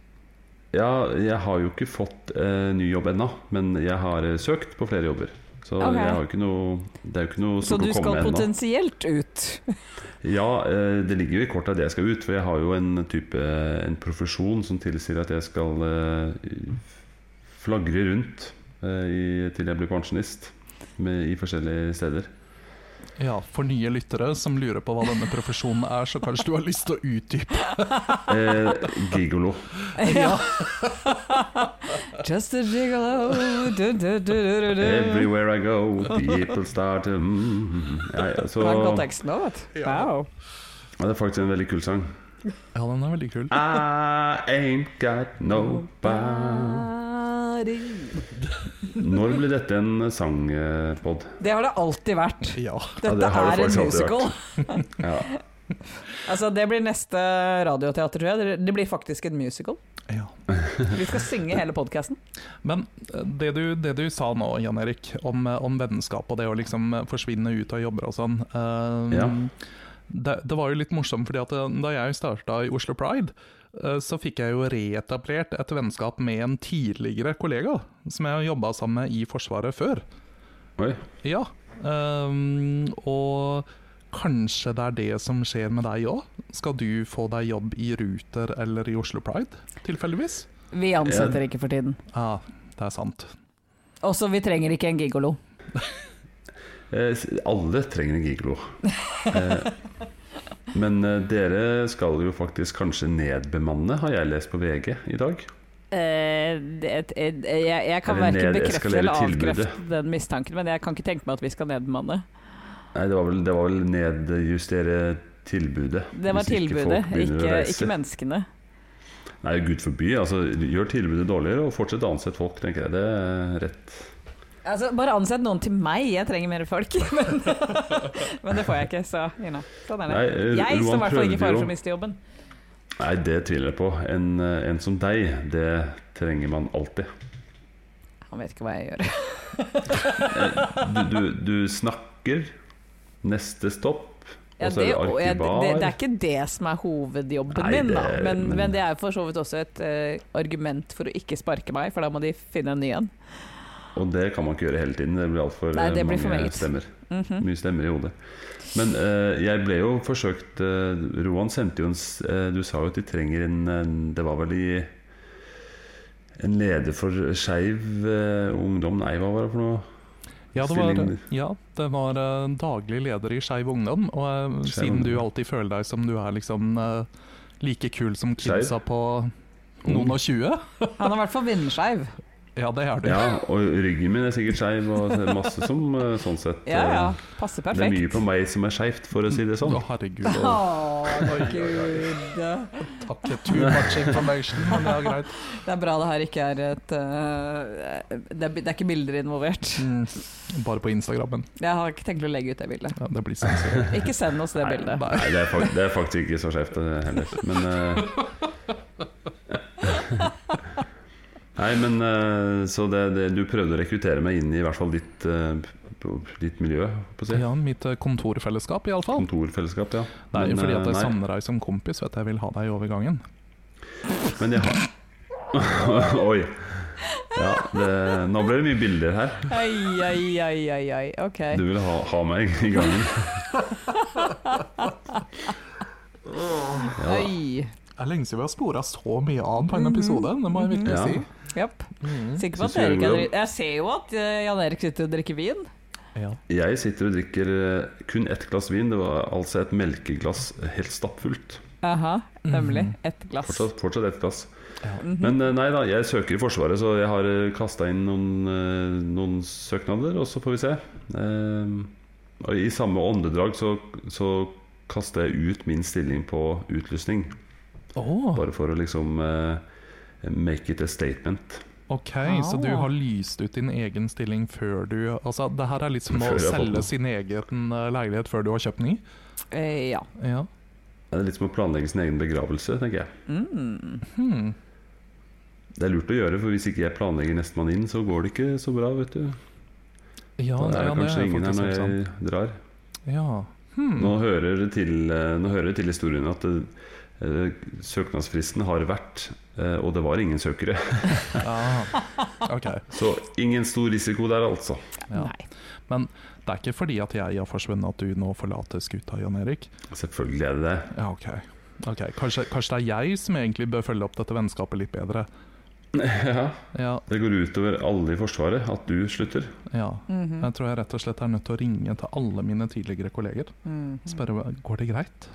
Ja, jeg har jo ikke fått eh, ny jobb ennå, men jeg har eh, søkt på flere jobber. Så
Ok.
jeg har jo ikke noe, det er jo ikke noe
Så
stort
du
å komme
skal
med ennå.
potensielt ut.
Ja, eh, det ligger jo i kortet at jeg skal ut, for jeg har jo en type en profesjon som tilsier at jeg skal eh, flagre rundt eh, i, til jeg blir pensjonist med, i forskjellige steder.
Ja, for nye lyttere som lurer på hva denne profesjonen er, så kanskje du har lyst til å utdype?
Eh, gigolo.
Ja. Just a gigolo du, du, du, du, du, du.
Everywhere I go, people start mm, mm, mm. ja, ja, så,
Det var en god tekst nå, vet du. Wow.
ja, Det er faktisk en veldig kul sang.
Ja, den er veldig kul.
I ain't got nobody Når ble dette en sangpod?
Det har det alltid vært.
Ja.
Ja,
Dette
det har det
er en
faktisk alltid
musical.
Ja.
Altså, det blir neste radioteater, tror jeg. Det blir faktisk en musical.
ja.
Vi skal synge hele podkasten.
Men eh, det du, det du sa nå, Jan Erik, om, eh, om vennskap og det å liksom eh, forsvinne ut av jobber og sånn eh,
Ja.
det, det var jo litt morsomt, fordi at eh, da jeg starta i Oslo Pride, eh, så fikk jeg jo reetablert et vennskap med en tidligere kollega som jeg jobba sammen med i Forsvaret før.
Oi.
Ja, ehm, og kanskje det er det som skjer med deg òg? Skal du få deg jobb i Ruter eller i Oslo Pride, tilfeldigvis?
Vi ansetter ikke for tiden.
Ja, det er sant.
Også vi trenger ikke en gigolo.
Eh, s- alle trenger en gigolo. Eh, men eh, dere skal jo faktisk kanskje nedbemanne, har jeg lest på VG i dag.
Eh, det, eh, jeg, jeg kan
Eller
verken bekrefte
nedeskalere
eller avkrefte
tilbudet.
den mistanken, men jeg kan ikke tenke meg at vi skal nedbemanne.
Nei, det var vel, det var vel nedjustere tilbudet.
Det var
hvis ikke folk
tilbudet,
begynner å
ikke,
reise.
ikke menneskene.
Nei, gud forby. Altså, gjør tilbudet dårligere, og fortsett å ansette folk, tenker jeg. Det er rett.
Altså, bare ansett noen til meg, jeg trenger mer folk. Men, men det får jeg ikke, så you know. sånn er det.
Nei, eh,
jeg står i
Roan
hvert fall ikke i
prøvde
fare
jo-
for å miste jobben.
Nei, det tviler jeg på. En, eh, en som deg, det trenger man alltid.
Han vet ikke hva jeg gjør.
Eh, du, du, du snakker Neste stopp
Ja,
Og så er
det,
det
og jeg,
arkivar
det, det er ikke det som er hovedjobben
Nei,
min, da.
det-
Men,
men-
men det er for så vidt også et eh, argument for å ikke sparke meg, for da må de finne en ny en.
Og det kan man ikke gjøre hele tiden Det blir alt for
Nei, det
eh,
blir
mange
for meget.
stemmer
Mhm.
Mye stemmer i hodet Men eh, jeg ble jo forsøkt eh, Roan sendte jo en s- eh, Du sa jo at de trenger en, en Det var vel i en leder for skeiv eh, ungdom, nei, hva var det for noe?
Ja, det var,
Stilling.
ja, det var eh, daglig leder i Skeiv Ungdom, og eh,
Skeiv
siden du
Ungdom.
alltid føler deg som du er liksom eh, like kul som
Skeiv.
kidsa på noen og tjue
Han er i hvert fall vindskeiv.
Ja, det er du.
Ja, og ryggen min er sikkert skeiv, og det er masse som eh, sånn sett
Ja,
eh,
ja. Passer
Det er
perfekt.
mye på meg som er skeivt, for å si det sånn.
Å, herregud.
Å,
å,
gud.
Takk. Too much information, men det er greit.
Det er bra det her ikke er et eh, det, er, det er ikke bilder involvert.
Mm, bare på Instagrammen.
Jeg har ikke tenkt å legge ut det bildet.
Ja, det blir sensuelt.
Ikke send oss det bildet.
Nei.
Nei, det er, fak det er faktisk ikke så skjevt det heller, men eh, Nei, men eh, så det, det, du prøvde å rekruttere meg inn i i hvert fall ditt, eh, p- ditt miljø, på å si.
Ja, mitt eh, kontorfellesskap, iallfall.
Kontorfellesskap, ja.
Nei,
Men,
fordi at
eh,
jeg
nei.
savner deg som kompis, vet jeg vil ha deg i overgangen.
Men jeg har Oi. Ja, det, nå ble det mye bilder her.
Ai, ai, ai, ai, ai. Ok.
Du vil ha, ha meg i gangen. Ja, da.
Oi.
Det er lenge siden vi har spora så mye av på en episode, det må jeg virkelig
Ja.
si.
Japp. Sikker
Synes
på at
Mm. du
Erik
det er
er dri- Jeg ser jo at eh, Jan Erik sitter og drikker vin.
Ja.
jeg sitter og drikker eh, kun ett glass vin. Det var altså et melkeglass helt stappfullt.
Aha, nemlig.
Mhm.
Et glass.
Fortsatt, fortsatt ett glass.
Mhm.
Men eh, nei da, jeg søker i Forsvaret, så jeg har kasta inn noen, eh, noen søknader, og så får vi se. Eh, og I samme åndedrag så, så kaster jeg ut min stilling på utlysning.
Åh,
Bare for å liksom eh, make it a statement.
ok, så du har lyst ut din egen stilling før du Altså, det her er litt som å
Før jeg har fått
selge
den.
sin egen eh, leilighet før du har kjøpt ny.
Eh, ja.
Ja.
Det er litt som å planlegge sin egen begravelse, tenker jeg.
Mm.
Hmm.
Det er lurt å gjøre, for hvis ikke jeg planlegger nestemann inn, så går det ikke så bra, vet du.
Ja,
Da er det
ja, det
kanskje
er
ingen her
faktisk
når
helt sant.
jeg drar.
Ja. Hmm.
Nå hører det til, eh, nå hører det til historien at eh, søknadsfristen har vært, eh, og det var ingen søkere.
Ja. Ok.
Så ingen stor risiko der, altså.
Ja.
Nei.
Det er ikke fordi at jeg har forsvunnet at du nå forlater skuta, Jan Erik?
Selvfølgelig er det det.
Ja, ok. Ok, Kanskje, kanskje det er jeg som egentlig bør følge opp dette vennskapet litt bedre.
Ja,
Ja,
det går utover alle i Forsvaret at du slutter.
ja.
Mhm.
Jeg tror jeg rett og slett er nødt til å ringe til alle mine tidligere kolleger
Mhm.
og spørre hva- går det greit.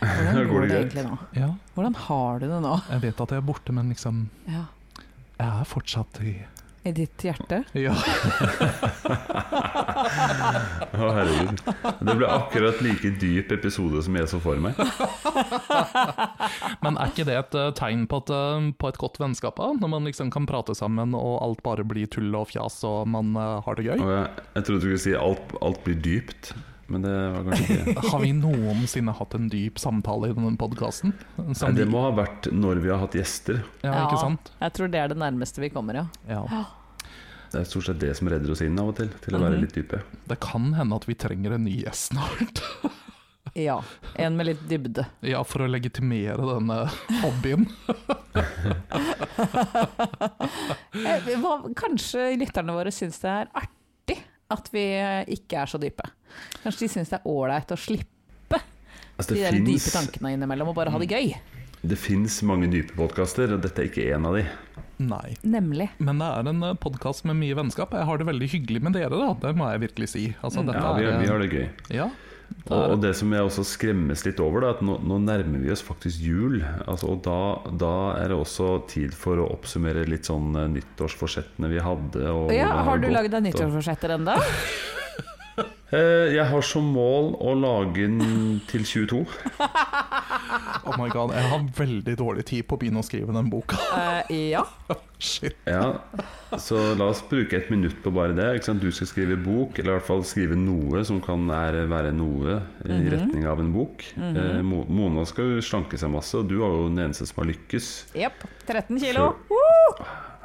Hvordan
Går det
går det
greit?
egentlig nå?
Ja,
Hvordan har du det nå?
jeg vet at jeg er borte, men liksom
Ja.
Jeg er fortsatt i
I ditt hjerte?
Ja.
Å, herregud. Det ble akkurat like dyp episode som jeg så for meg.
Men er ikke det et eh, tegn på, at, eh, på et godt vennskap, da? Når man liksom kan prate sammen og alt bare blir tull og fjas og man eh, har det gøy?
Og jeg, jeg trodde du skulle si alt, alt blir dypt, men det var kanskje ikke det.
Har vi noensinne hatt en dyp samtale i denne podkasten?
Nei, det må ha vært når vi har hatt gjester.
Ja, ikke sant?
Jeg tror det er det nærmeste vi kommer, ja.
Ja.
Det er stort sett det som redder oss inn av og til, til å være
Mhm.
litt dype.
Det kan hende at vi trenger en ny gjest snart.
Ja. En med litt dybde.
Ja, for å legitimere denne hobbyen.
Eh, Hva, kanskje lytterne våre syns det er artig at vi eh, ikke er så dype. Kanskje de syns det er åleit å slippe
Altså,
de
det
der dype
finnes- Mm.
tankene innimellom og bare ha det gøy.
det fins mange dype podkaster, og dette er ikke en av de.
Nei.
Nemlig.
Men det er en podkast med mye vennskap. Jeg har det veldig hyggelig med dere, da. Det må jeg virkelig si. Altså, dette
Mm. Ja, vi,
er,
vi har det gøy.
Ja. Det
Og,
er,
og det som jeg også skremmes litt over, da, at nå, nå nærmer vi oss faktisk jul. Altså, og da, da er det også tid for å oppsummere litt sånn eh, nyttårsforsettene vi hadde. Og
Ja,
hvordan det
har du
gått,
lagd deg
og-
nyttårsforsetter ennå?
Eh, Jeg har som mål å lage den til 22.
oh my god, jeg har veldig dårlig tid på å begynne å skrive den boka.
Eh, ja.
Shit.
Ja, så la oss bruke et minutt på bare det. Ikke sant? Du skal skrive bok, eller i hvert fall skrive noe som kan er, være noe eh, i retning av en bok. Eh, Mo- Mona skal jo slanke seg masse, og du er jo den eneste som har lykkes.
Jepp. 13 kilo.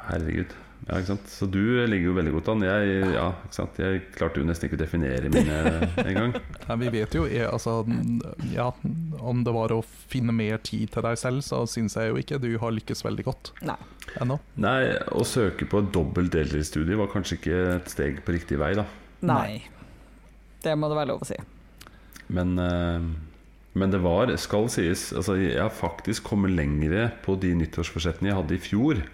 Herregud. Ja, ikke sant? Så du ligger jo veldig godt an. Jeg, ja, ikke sant? jeg klarte jo nesten ikke å definere mine engang.
Nei, vi vet jo eh, altså, ja, om det var å finne mer tid til deg selv, så syns jeg jo ikke du har lykkes veldig godt
Nei.
ennå.
Nei, å søke på et dobbelt deltidsstudie var kanskje ikke et steg på riktig vei, da.
Nei. Det må det være lov å si.
Men, eh, men det var, skal sies altså Jeg har faktisk kommet lengre på de nyttårsforsettene jeg hadde i fjor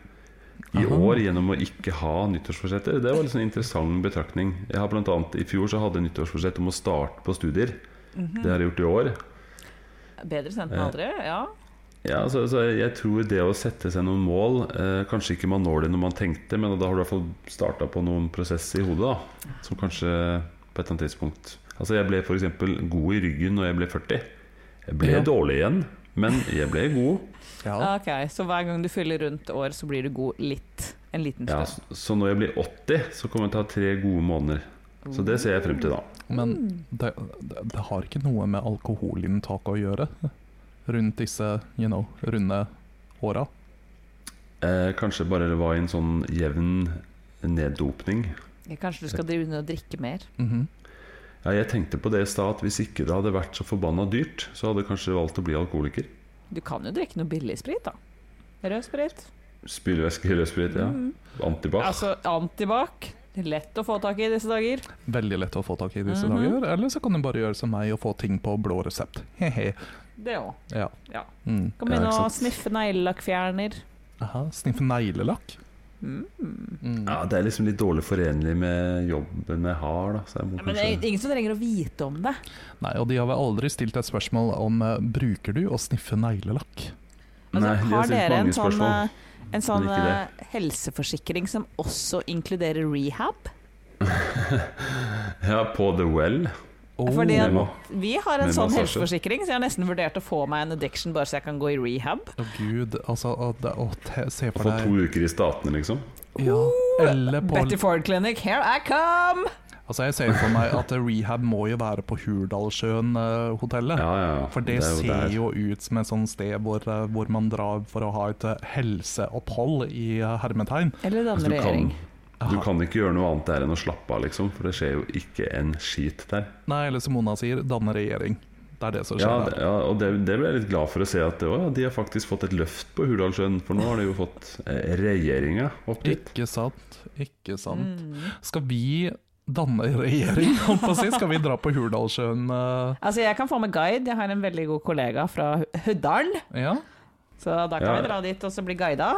i
Aha.
år gjennom å ikke ha nyttårsforsetter. Det var liksom en interessant betraktning. Jeg har blant annet, I fjor så hadde jeg nyttårsforsett om å starte på studier. Det har jeg gjort i år.
Bedre sendt enn
enn
aldri, ja.
Ja, altså, altså, jeg tror det å sette seg noen mål eh, Kanskje ikke man når det når man tenkte, men da har du i hvert fall starta på noen prosess i hodet. da Som kanskje på et eller annet tidspunkt Altså Jeg ble f.eks. god i ryggen når jeg ble 40. Jeg ble
Ja.
dårlig igjen, men jeg ble god.
Ja.
Ok, Så hver gang du fyller rundt år, så blir du god litt. En liten
Ja,
stund.
så, så når jeg blir 80, så kommer jeg til å ha tre gode måneder. Så det ser jeg frem til, da.
Men det, det, det har ikke noe med alkoholinntaket å gjøre rundt disse you know, runde åra.
Eh, kanskje bare det var i en sånn jevn neddopning.
Kanskje du skal drive under og drikke mer.
Mhm.
Ja, jeg tenkte på det i stad, at hvis ikke det hadde vært så forbanna dyrt, så hadde jeg kanskje valgt å bli alkoholiker.
Du kan jo drikke noe billig sprit, da. Rød sprit.
Spylevæske, rødsprit, ja. Antibac.
Mm. Altså antibac. Lett å få tak i i disse dager.
Veldig lett å få tak i i disse
Mhm.
dager. Eller så kan du bare gjøre som meg og få ting på blå resept. Hehe.
Det òg.
Ja.
Ja.
Mm.
Kan begynne
Ja, ikke
å sniffe neglelakkfjerner.
Aha, Sniffe neglelakk.
Mm.
Mm.
ja, det er liksom litt dårlig forenlig med jobben jeg har, da. Så jeg må
Men det
kanskje
er ingen som trenger å vite om det.
Nei, og de har vel aldri stilt et spørsmål om eh, bruker du å sniffe neglelakk.
Nei,
Altså,
de har
har
stilt
dere en
mange
sånn,
spørsmål,
eh, en sånn
men ikke
eh, helseforsikring som også inkluderer rehab?
Ja, på The Well.
Oh,
Fordi at-
Jeg må.
Vi har en
Med
sånn
massasje.
helseforsikring, så jeg har nesten vurdert å få meg en addiction bare så jeg kan gå i rehab.
Å gud, altså å, det, å, te, Se for
Få
deg
to uker i Statene, liksom.
ja, Eller på
Betty Ford Clinic, here I come!
Altså Jeg ser for meg at rehab må jo være på Hurdalssjøen-hotellet.
Ja, ja.
For det,
er
ser
der.
jo ut som et sånt sted hvor, eh, hvor man drar for å ha et eh, helseopphold i eh, hermetegn.
Eller
Altså,
danne
du kan,
regjering.
du kan ikke gjøre noe annet der enn å slappe av, liksom. For det skjer jo ikke en skit der.
Nei, eller som Mona sier, danne regjering. Det er det som
Ja,
skjer
det-
der.
ja og det, det ble jeg litt glad for å se at det var, ja, de har faktisk fått et løft på Hurdalssjøen. For nå har de jo fått eh, regjeringa opp dit.
Ikke sant, ikke sant.
Mm.
Skal vi danne regjering, holdt på å si? Skal vi dra på Hurdalssjøen? eh,
Altså, jeg kan få med guide. Jeg har en veldig god kollega fra Huddalen.
Ja?
Så da kan
Ja.
vi dra dit og så bli guida.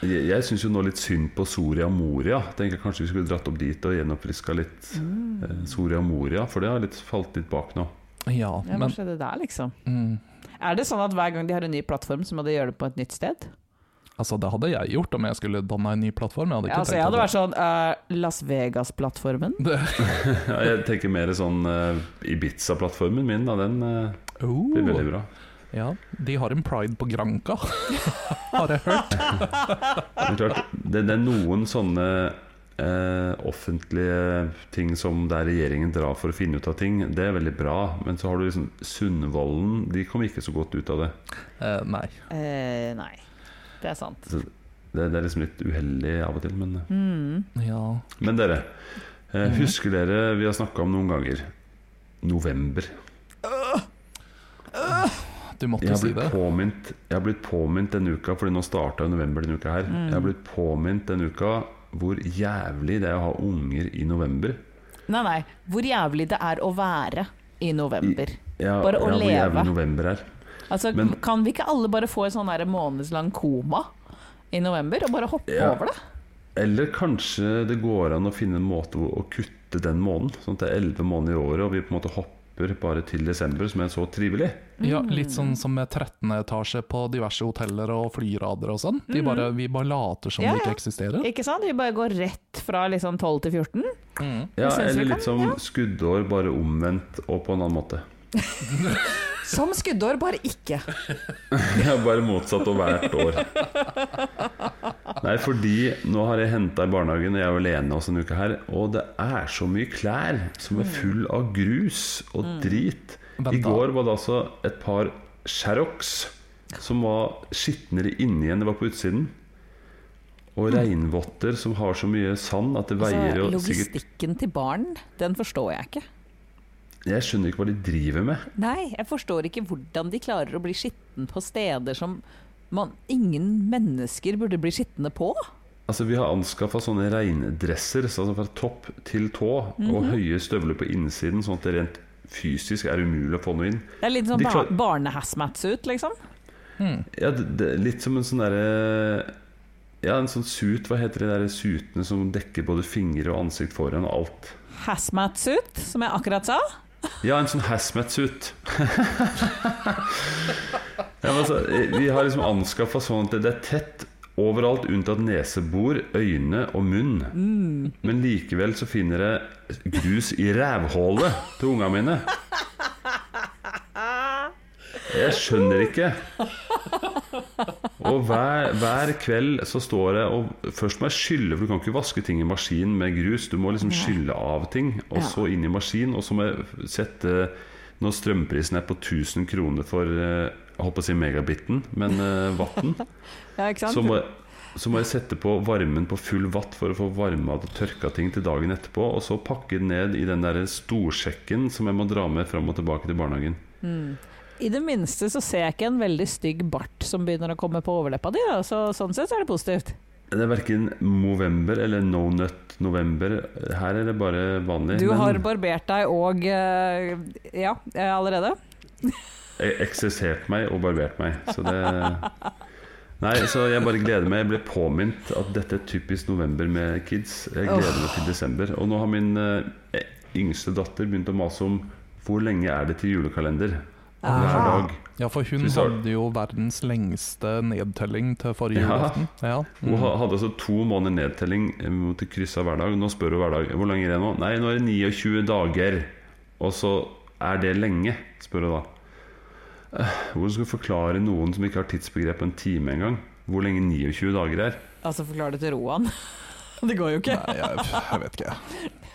Jeg, jeg syns jo nå litt synd på Soria Moria. Tenker jeg kanskje vi skulle dratt opp dit og gjenoppriska litt eh, Soria Moria. For det har litt falt litt bak nå.
Ja,
Ja, hva
men
skjedde der, liksom?
mm,
Er det sånn at hver gang de har en ny plattform, så må de gjøre det på et nytt sted?
Altså, det hadde jeg gjort om jeg skulle danne en ny plattform. Jeg hadde ikke
Ja, altså, jeg
tenkt
hadde
på
vært sånn eh, Las Vegas-plattformen.
det.
Ja, jeg tenker mer sånn eh, Ibiza-plattformen min, da. Den eh, blir
Oh.
veldig bra.
Ja, de har en pride på Granca, har jeg hørt.
Men klart, det, det er noen sånne eh, offentlige ting som der regjeringen drar for å finne ut av ting. Det er veldig bra. Men så har du liksom Sundvolden. De kom ikke så godt ut av det.
Eh, nei.
Eh, nei, det er sant.
Det, det er liksom litt uheldig av og til. Men, eh,
Mm.
Ja.
men dere, eh,
Mhm.
husker dere vi har snakka om noen ganger november?
Du måtte
Jeg har,
si
blitt
det.
påmint, jeg har blitt påmint denne uka, Fordi nå starta november denne uka her.
Mhm.
Jeg har blitt påmint denne uka hvor jævlig det er å ha unger i november.
Nei, nei. Hvor jævlig det er å være i november.
Ja,
Bare å
ja, Hvor
leve.
jævlig november er.
Altså,
Men-
Kan vi ikke alle bare få en sånn der månedslang koma i november, og bare hoppe
Ja.
over det?
Eller kanskje det går an å finne en måte hvor- å kutte den måneden. Sånn at det er elleve måneder i året, og vi på en måte hopper bare til desember, som er så trivelig.
Ja, litt
Mm.
sånn som med 13. etasje på diverse hoteller og flyrader og sånn. De bare, vi bare later som
Mm. Ja,
de
ja.
ikke eksisterer.
Ikke sant? Vi bare går rett fra liksom 12 til 14.
Mm.
Ja,
Jeg synes vi
eller
kan,
litt som skuddår, bare omvendt og på en annen måte.
Som skuddår, bare ikke.
Ja, bare motsatt og hvert år. Nei, fordi nå har jeg henta i barnehagen, og jeg er jo alene også denne uka her, og det er så mye klær som er full av grus og drit.
Vent
I
da.
går var det altså et par Xerox som var skitnere inni enn det var på utsiden. Og regnvotter som har så mye sand at det veier
Altså,
jo sikkert
logistikken til barn, den forstår jeg ikke.
Jeg skjønner ikke hva de driver med.
Nei, jeg forstår ikke hvordan de klarer å bli skitten på steder som man, ingen mennesker burde bli skitne på.
Altså Vi har anskaffa sånne regndresser så altså fra topp til tå, og høye støvler på innsiden, sånn at det rent fysisk er umulig å få noe inn.
Det er litt sånn
De
bar
klar-
barnehazmats ut, liksom.
Ja, det, det, er litt som en sånn derre Ja, en sånn suit, hva heter de der sutene som dekker både fingre og ansikt foran og alt?
Hazmat-suit, som jeg akkurat sa.
Ja, en sånn hazmat-suit. ja, men altså, vi har liksom anskaffa sånn at det er tett overalt, unntatt nesebor, øyne og munn. Men likevel så finner jeg grus i rævhålet til unga mine. Jeg skjønner ikke. Og hver, hver kveld så står jeg og Først må jeg skylle, for du kan ikke vaske ting i maskin med grus. Du må liksom skylle av ting, og
Ja.
så inn i maskin. Og så må jeg sette Når strømprisen er på 1000 kroner for eh, Jeg holdt på å si megabitten, men uh, vatten.
Ja, ikke sant?
Så må, så må jeg sette på varmen på full vatt for å få varma og tørka ting til dagen etterpå. Og så pakke den ned i den der storsjekken som jeg må dra med fram og tilbake til barnehagen.
I det minste så ser jeg ikke en veldig stygg bart som begynner å komme på overleppa di, da. så sånn sett så er det positivt.
Det er verken Movember eller No Nut November. Her er det bare vanlig.
Du
men-
har barbert deg og eh, ja, eh, allerede.
Jeg eksessert meg og barbert meg. Så det Nei, så jeg bare gleder meg. Jeg ble påminnet at dette er typisk november med kids. Jeg gleder meg til desember. Og nå har min eh, yngste datter begynt å mase om hvor lenge er det til julekalender. Hver
Aha.
dag.
Ja, for hun
Hvis du har-
hadde jo verdens lengste nedtelling til forrige
Ja.
julaften. Ja.
Hun
Mm.
ha- hadde altså to måneder nedtelling eh, mot å krysse av hver dag. Nå spør hun hver dag hvor lenge er det nå. Nei, nå er det 29 dager. Og så er det lenge, spør hun da. Eh, Hvordan skal du forklare noen som ikke har tidsbegrep på en time engang, hvor lenge 29 dager er?
Altså, forklar det til Roan. Det går jo ikke.
Nei, jeg, jeg vet ikke.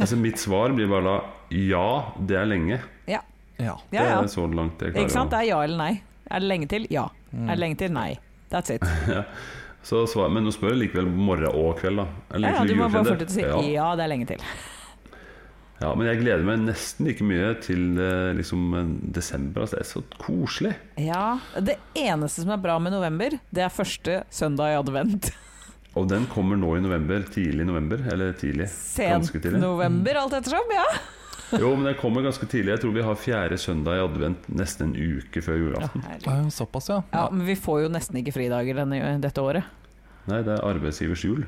Altså Mitt svar blir bare da ja, det er lenge.
Ja,
Ja.
ja. ja.
Det er så langt jeg klarer.
Ikke
å-
sant? Det er ja eller nei. Er det lenge til? Ja. Er det lenge til? Nei. That's it.
Så svar, men nå spør jeg likevel morgen og kveld, da. Er det
Ja, ja,
egentlig
du må bare
julekalender?
fortsette å si
ja.
ja, det er lenge til.
ja, men jeg gleder meg nesten like mye til eh, liksom eh, desember. Altså, det er så koselig.
Ja. Det eneste som er bra med november, det er første søndag i advent.
Og den kommer nå i november. Tidlig i november. Eller tidlig. Ganske
Sent
tidlig.
november, alt ettersom. Ja.
Jo, men den kommer ganske tidlig. Jeg tror vi har fjerde søndag i advent nesten en uke før julaften.
Det er jo Såpass, ja.
ja, men vi får jo nesten ikke fridager denne, dette året.
Nei, det er arbeidsgivers jul.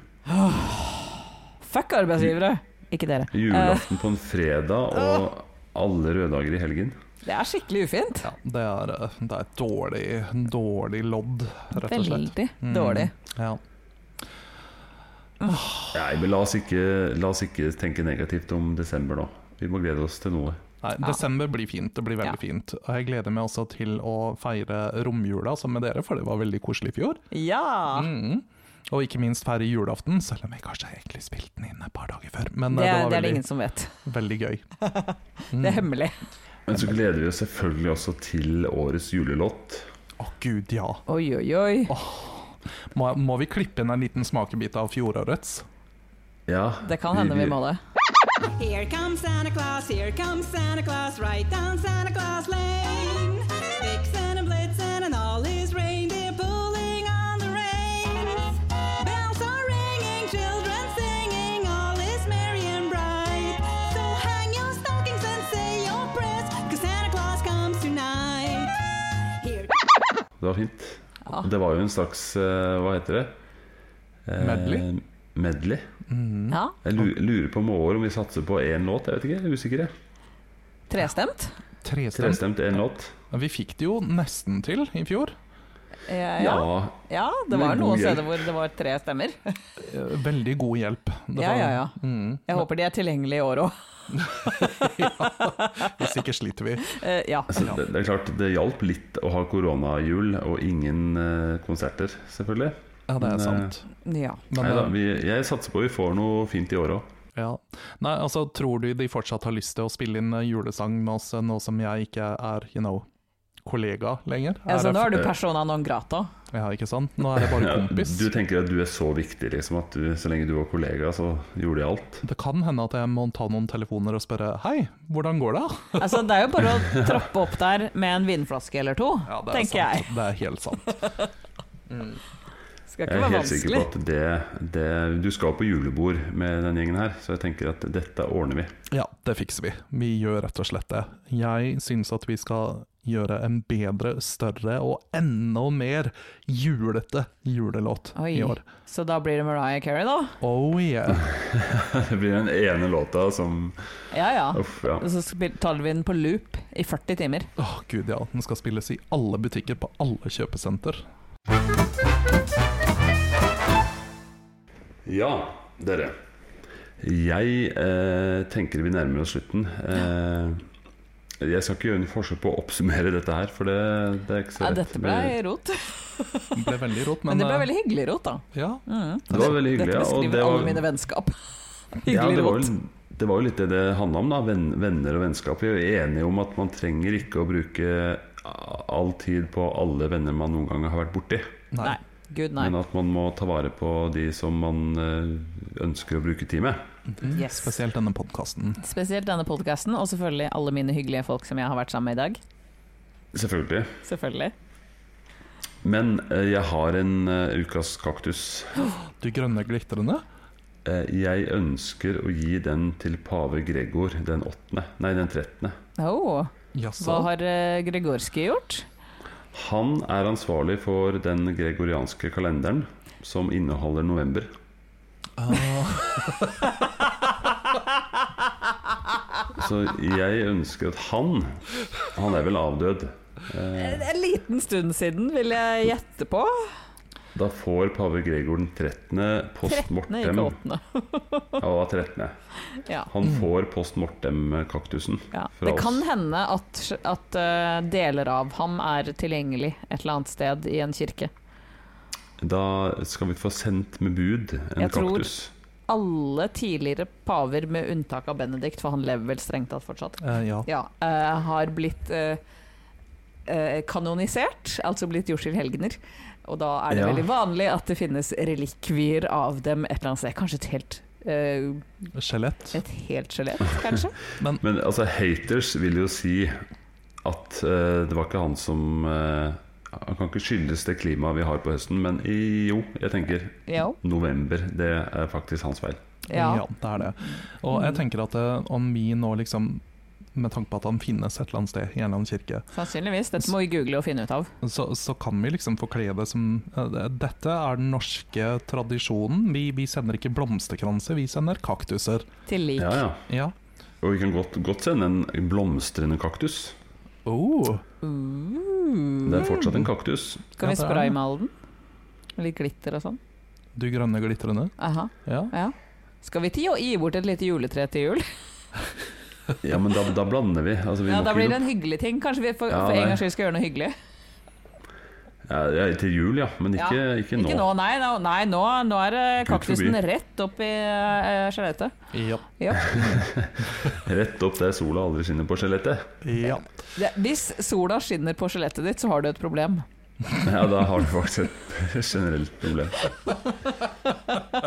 Fuck arbeidsgivere! Ikke dere. Eh,
Julaften på en fredag og alle røddager i helgen.
det er skikkelig ufint.
Ja, det er, eh, det er et dårlig, dårlig lodd, rett og slett.
Veldig
Mm.
dårlig.
Ja.
Nei, men la oss, ikke, la oss ikke tenke negativt om desember nå. Vi må glede oss til noe.
Nei,
Ja.
Desember blir fint, det blir
Ja.
veldig fint. Og jeg gleder meg også til å feire romjula sammen med dere, for det var veldig koselig i fjor.
Ja!
Mhm. Og ikke minst feire julaften, selv om jeg kanskje egentlig spilte den inn et par dager før. Men
Det,
det, det
er-
var
det er det
veldig,
ingen som vet.
veldig gøy.
Det er hemmelig.
Men så gleder vi oss selvfølgelig også til årets julelåt.
Mm. Å gud, ja.
Oi, oi, oi.
Må, må vi klippe inn en liten smakebit av fjorårets?
Ja,
Det kan hende vi må det.
Here comes Santa Claus, here comes Santa Claus, right down Santa Claus Lane. Vixen and Blitzen and all his reindeer pulling on the reins. Bells are ringing, children singing, all is merry and bright. So hang your stockings and say your prayers, cause Santa Claus comes tonight. Here
Det var fint. Det var jo en slags eh, Hva heter det? Eh,
Medley?
Medley.
Ja,
Jeg lu- lurer på med år om vi satser på én låt. Jeg vet ikke, jeg er usikker. jeg.
Trestemt?
Trestemt.
Trestemt én låt.
Vi fikk det jo nesten til i fjor.
Ja, ja.
Ja.
ja det
Med
var
god
noen
hjelp.
steder hvor det var tre stemmer.
Eh, Veldig god hjelp. Det
Ja,
var-
ja, ja.
Mm.
Jeg håper de er tilgjengelige i år òg.
Hvis ikke sliter vi.
Eh, Ja.
Så det, det er klart, det hjalp litt å ha koronajul og ingen eh, konserter, selvfølgelig.
Ja, det er
Men, eh,
sant.
ja.
Men,
Neida,
eh,
vi, jeg satser på vi får noe fint i år òg.
ja. Nei, altså, tror du de fortsatt har lyst til å spille inn eh, julesang med oss, eh, nå som jeg ikke er, you know, kollega lenger?
Altså,
Er jeg-
nå er du persona non grata.
Ja, ikke sant? Nå er jeg bare
Ja,
kompis.
du tenker at du er så viktig, liksom, at du, så lenge du var kollega, så gjorde jeg alt.
Det kan hende at jeg må ta noen telefoner og spørre Hei, hvordan går det?
Altså, det er jo bare å troppe opp der med en vinflaske eller to,
Ja, det er
tenker
sant.
jeg.
Det er helt sant.
Skal
Jeg
ikke
er
være
helt sikker på
vanskelig.
at det, det Du skal på julebord med den gjengen her, så jeg tenker at dette ordner vi.
Ja, det fikser vi. Vi gjør rett og slett det. Jeg syns at vi skal gjøre en bedre, større og enda mer julete julelåt
Oi.
i år.
Så da blir det Mariah Carey, da?
Oh yeah.
Det blir den ene låta som
Ja ja.
Uff, ja.
Og så spil- tar vi den på loop i 40 timer.
Åh gud ja, den skal spilles i alle butikker på alle kjøpesenter.
Ja, dere. Jeg eh, tenker vi nærmer oss slutten. Eh, jeg skal ikke gjøre noe forsøk på å oppsummere dette her, for det, det er ikke så
Ja,
lett.
dette ble rot.
Den ble veldig rått, men,
Men det ble
eh,
veldig hyggelig rot, da.
ja,
Mm.
Det var veldig hyggelig. ja,
Dette
og
beskriver
det var-
alle mine vennskap.
Ja,
Hyggelig
det, var
rot.
jo, det var jo litt det det handla om, da. Venn, venner og vennskap. Vi er jo enige om at man trenger ikke å bruke all tid på alle venner man noen gang har vært borti.
nei.
Nei. Good night.
Men eh, at man må ta vare på de som man eh, ønsker å bruke tid med.
Yes.
Mhm. Spesielt denne podkasten.
Spesielt denne podkasten, og selvfølgelig alle mine hyggelige folk som jeg har vært sammen med i dag.
Selvfølgelig.
Selvfølgelig.
Men eh, jeg har en eh, ukas kaktus.
Du grønne glitrende?
Eh, jeg ønsker å gi den til pave Gregor den åttende, nei, den trettende.
Oh, hva
Jaså?
har eh, Gregorski gjort?
Han er ansvarlig for den gregorianske kalenderen som inneholder november.
Ah.
Så jeg ønsker at han Han er vel avdød. Eh,
En liten stund siden, vil jeg gjette på.
Da får pave Gregor den 13. post
13.,
mortem.
ikke 8.
Ja, det var 13.
Ja.
Han får post mortem-kaktusen
Ja.
fra
Det kan
oss.
hende at, at eh, deler av ham er tilgjengelig et eller annet sted i en kirke.
Da skal vi få sendt med bud en
Jeg tror-
kaktus.
Alle tidligere paver, med unntak av Benedikt, for han lever vel strengt tatt fortsatt,
Eh, ja.
ja, eh, har blitt eh, eh, kanonisert, altså blitt gjort til helgener. Og da er det
Ja.
veldig vanlig at det finnes relikvier av dem et eller annet sted. Kanskje et helt eh,
Skjelett.
et helt skjelett, kanskje?
Men altså, haters vil jo si at eh, det var ikke han som eh, Han kan ikke skyldes det klimaet vi har på høsten, men i, jo, jeg tenker
Ja.
november. Det er faktisk hans feil.
ja. Mm.
Ja, det er det. Og jeg tenker at eh, om vi nå liksom med tanke på at han finnes et eller annet sted i en eller annen kirke,
Sannsynligvis. Dette må vi google og finne ut av.
så, så kan vi liksom forkle det som eh, Dette er den norske tradisjonen. Vi, vi sender ikke blomsterkranser, vi sender kaktuser.
Til lik.
Ja, ja.
Ja.
Og vi kan godt, godt sende en blomstrende kaktus.
Oh,
Mm.
Det er fortsatt en kaktus.
Kan Uh,
Ja,
vi
det er
spraymale den? Litt glitter og sånn.
du grønne glitrende.
Aha,
Ja.
ja. Skal vi til å gi bort et lite juletre til jul?
Ja, men da, da blander vi. Altså, vi
Ja,
må
Da
ikke
blir det
gjøre-
en hyggelig ting. Kanskje vi for,
Ja,
for en
nei.
gangs skyld skal gjøre noe hyggelig?
ja, ja, Til jul, ja. Men ikke,
Ja,
ikke,
Ikke nå, nei. Nå, nei, nå, nå er det
Gud
kaktusen
forbi.
rett opp i eh, skjelettet.
Ja.
Ja.
Rett opp der sola aldri skinner på skjelettet.
ja.
Det- Hvis sola skinner på skjelettet ditt, så har du et problem.
Ja, da har du faktisk et generelt problem.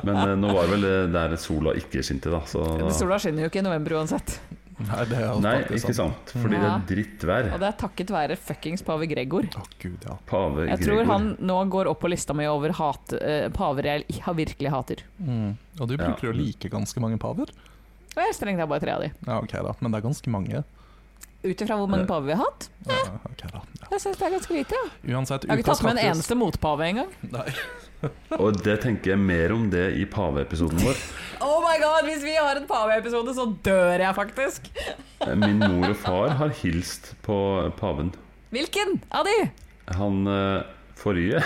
Men eh, nå var det vel eh, der sola ikke skinte, da. Så
Men
da
Sola skinner jo ikke i november uansett.
Nei, det er
Nei,
faktisk
ikke sant. Fordi det
Ja.
er drittvær.
Og det er takket være fuckings pave Gregor.
Å gud, ja.
Pave
Jeg tror
Gregor.
han nå går opp på lista mi over hat, eh, paver jeg har virkelig hater.
Mm. Og du bruker
Ja.
jo like ganske mange paver.
Og jeg er strengt tatt bare tre av de.
Ja, ok da, men det er ganske mange.
Ut ifra hvor mange paver vi har hatt.
Ja, ok da. Ja.
Jeg syns det er ganske lite. Ja.
Uansett,
Jeg har ikke
ukas
tatt med en
kaktus-
eneste motpave engang.
Nei.
Og det tenker jeg mer om det i paveepisoden vår.
Oh my god, hvis vi har en paveepisode, så dør jeg faktisk!
Eh, Min mor og far har hilst på paven.
Hvilken av de?
Han eh, forrige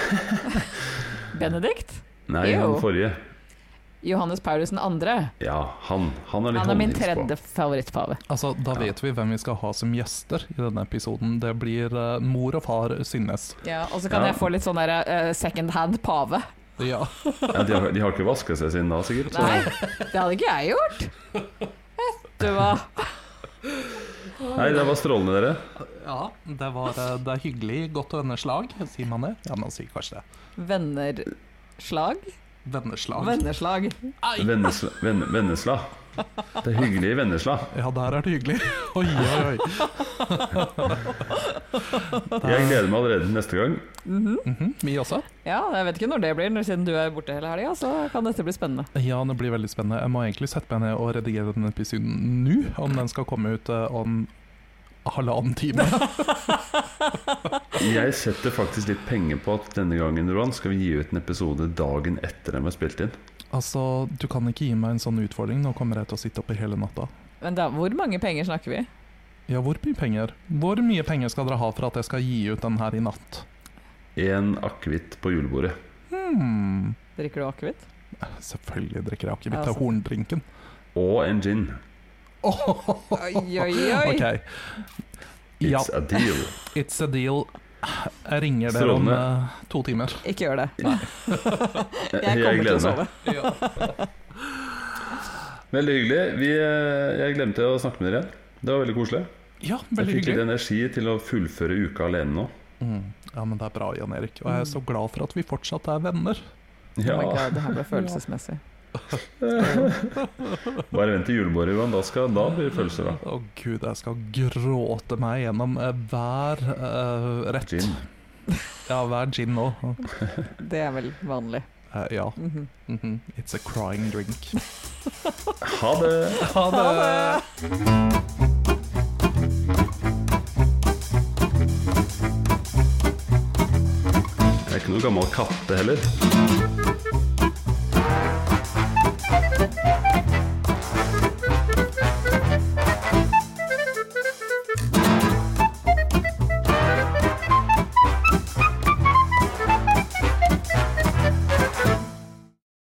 Benedikt?
Nei,
Jo.
han forrige.
Johannes Paulus den andre.
Ja, han. Han er litt
Han er min
håndhils på.
tredje favorittpave.
Altså, Da vet vi hvem vi skal ha som gjester i denne episoden. Det blir eh, mor og far Synnes.
Ja, og så kan
Ja.
jeg få litt sånn derre eh, second hand pave.
Ja.
Ja, de, har, de har ikke vaska seg siden da, sikkert. så-
Nei, det hadde ikke jeg gjort. Vet du hva.
Nei, det var strålende, dere.
ja det, var, eh, det er hyggelig. Godt venneslag, sier man det? Ja, man sier kanskje det.
Vennerslag?
Venneslag.
Venneslag.
Vennesla, Ven- Vennesla. Det er hyggelig i Vennesla.
Ja, der er det hyggelig. Oi, oi, oi.
Ah.
Jeg gleder meg allerede til neste gang.
Mhm, Vi også.
Ja, jeg vet ikke når det blir, når- siden du er borte hele helga, så kan dette bli spennende.
Ja, det blir veldig spennende. Jeg må egentlig sette meg ned og redigere denne episoden nå, om den skal komme ut eh, om halvannen time.
Jeg setter faktisk litt penger på at denne gangen Roan, skal vi gi ut en episode dagen etter den var spilt inn.
Altså, du kan ikke gi meg en sånn utfordring. Nå kommer jeg til å sitte oppe hele natta.
Men da, hvor mange penger snakker vi?
Ja, hvor mye penger? Hvor mye penger skal dere ha for at jeg skal gi ut den her i natt?
En akevitt på julebordet.
Hmm.
Drikker du akevitt?
Selvfølgelig drikker jeg akevitt. Det
Altså.
er horndrinken.
Og en gin.
Oi, oi, oi.
Ok. Ja,
It's a deal.
it's a deal. Jeg ringer dere om
Strålende.
eh, to timer.
Ikke gjør det.
Jeg,
Jeg kommer til å sove.
Veldig hyggelig. Vi, eh, jeg glemte å snakke med dere igjen. Det var veldig koselig.
Ja,
Jeg
veldig
fikk litt
hyggelig.
energi til å fullføre uka alene nå.
Oh
Mm. Ja, men det er bra, Jan Erik. Og jeg er så glad for at vi fortsatt er venner.
Oh my
Ja,
God, det her ble følelsesmessig.
Bare vent til julebordet, Johan. Da, skal, da blir det følelser, da.
Å gud, jeg skal gråte meg gjennom eh, hver eh, rett.
Gin.
Ja, hver gin nå.
Det er vel vanlig.
Eh, ja.
Mhm.
Mhm. It's a crying drink.
Ha det!
Ha det!
Det er ikke noe gammel katte heller.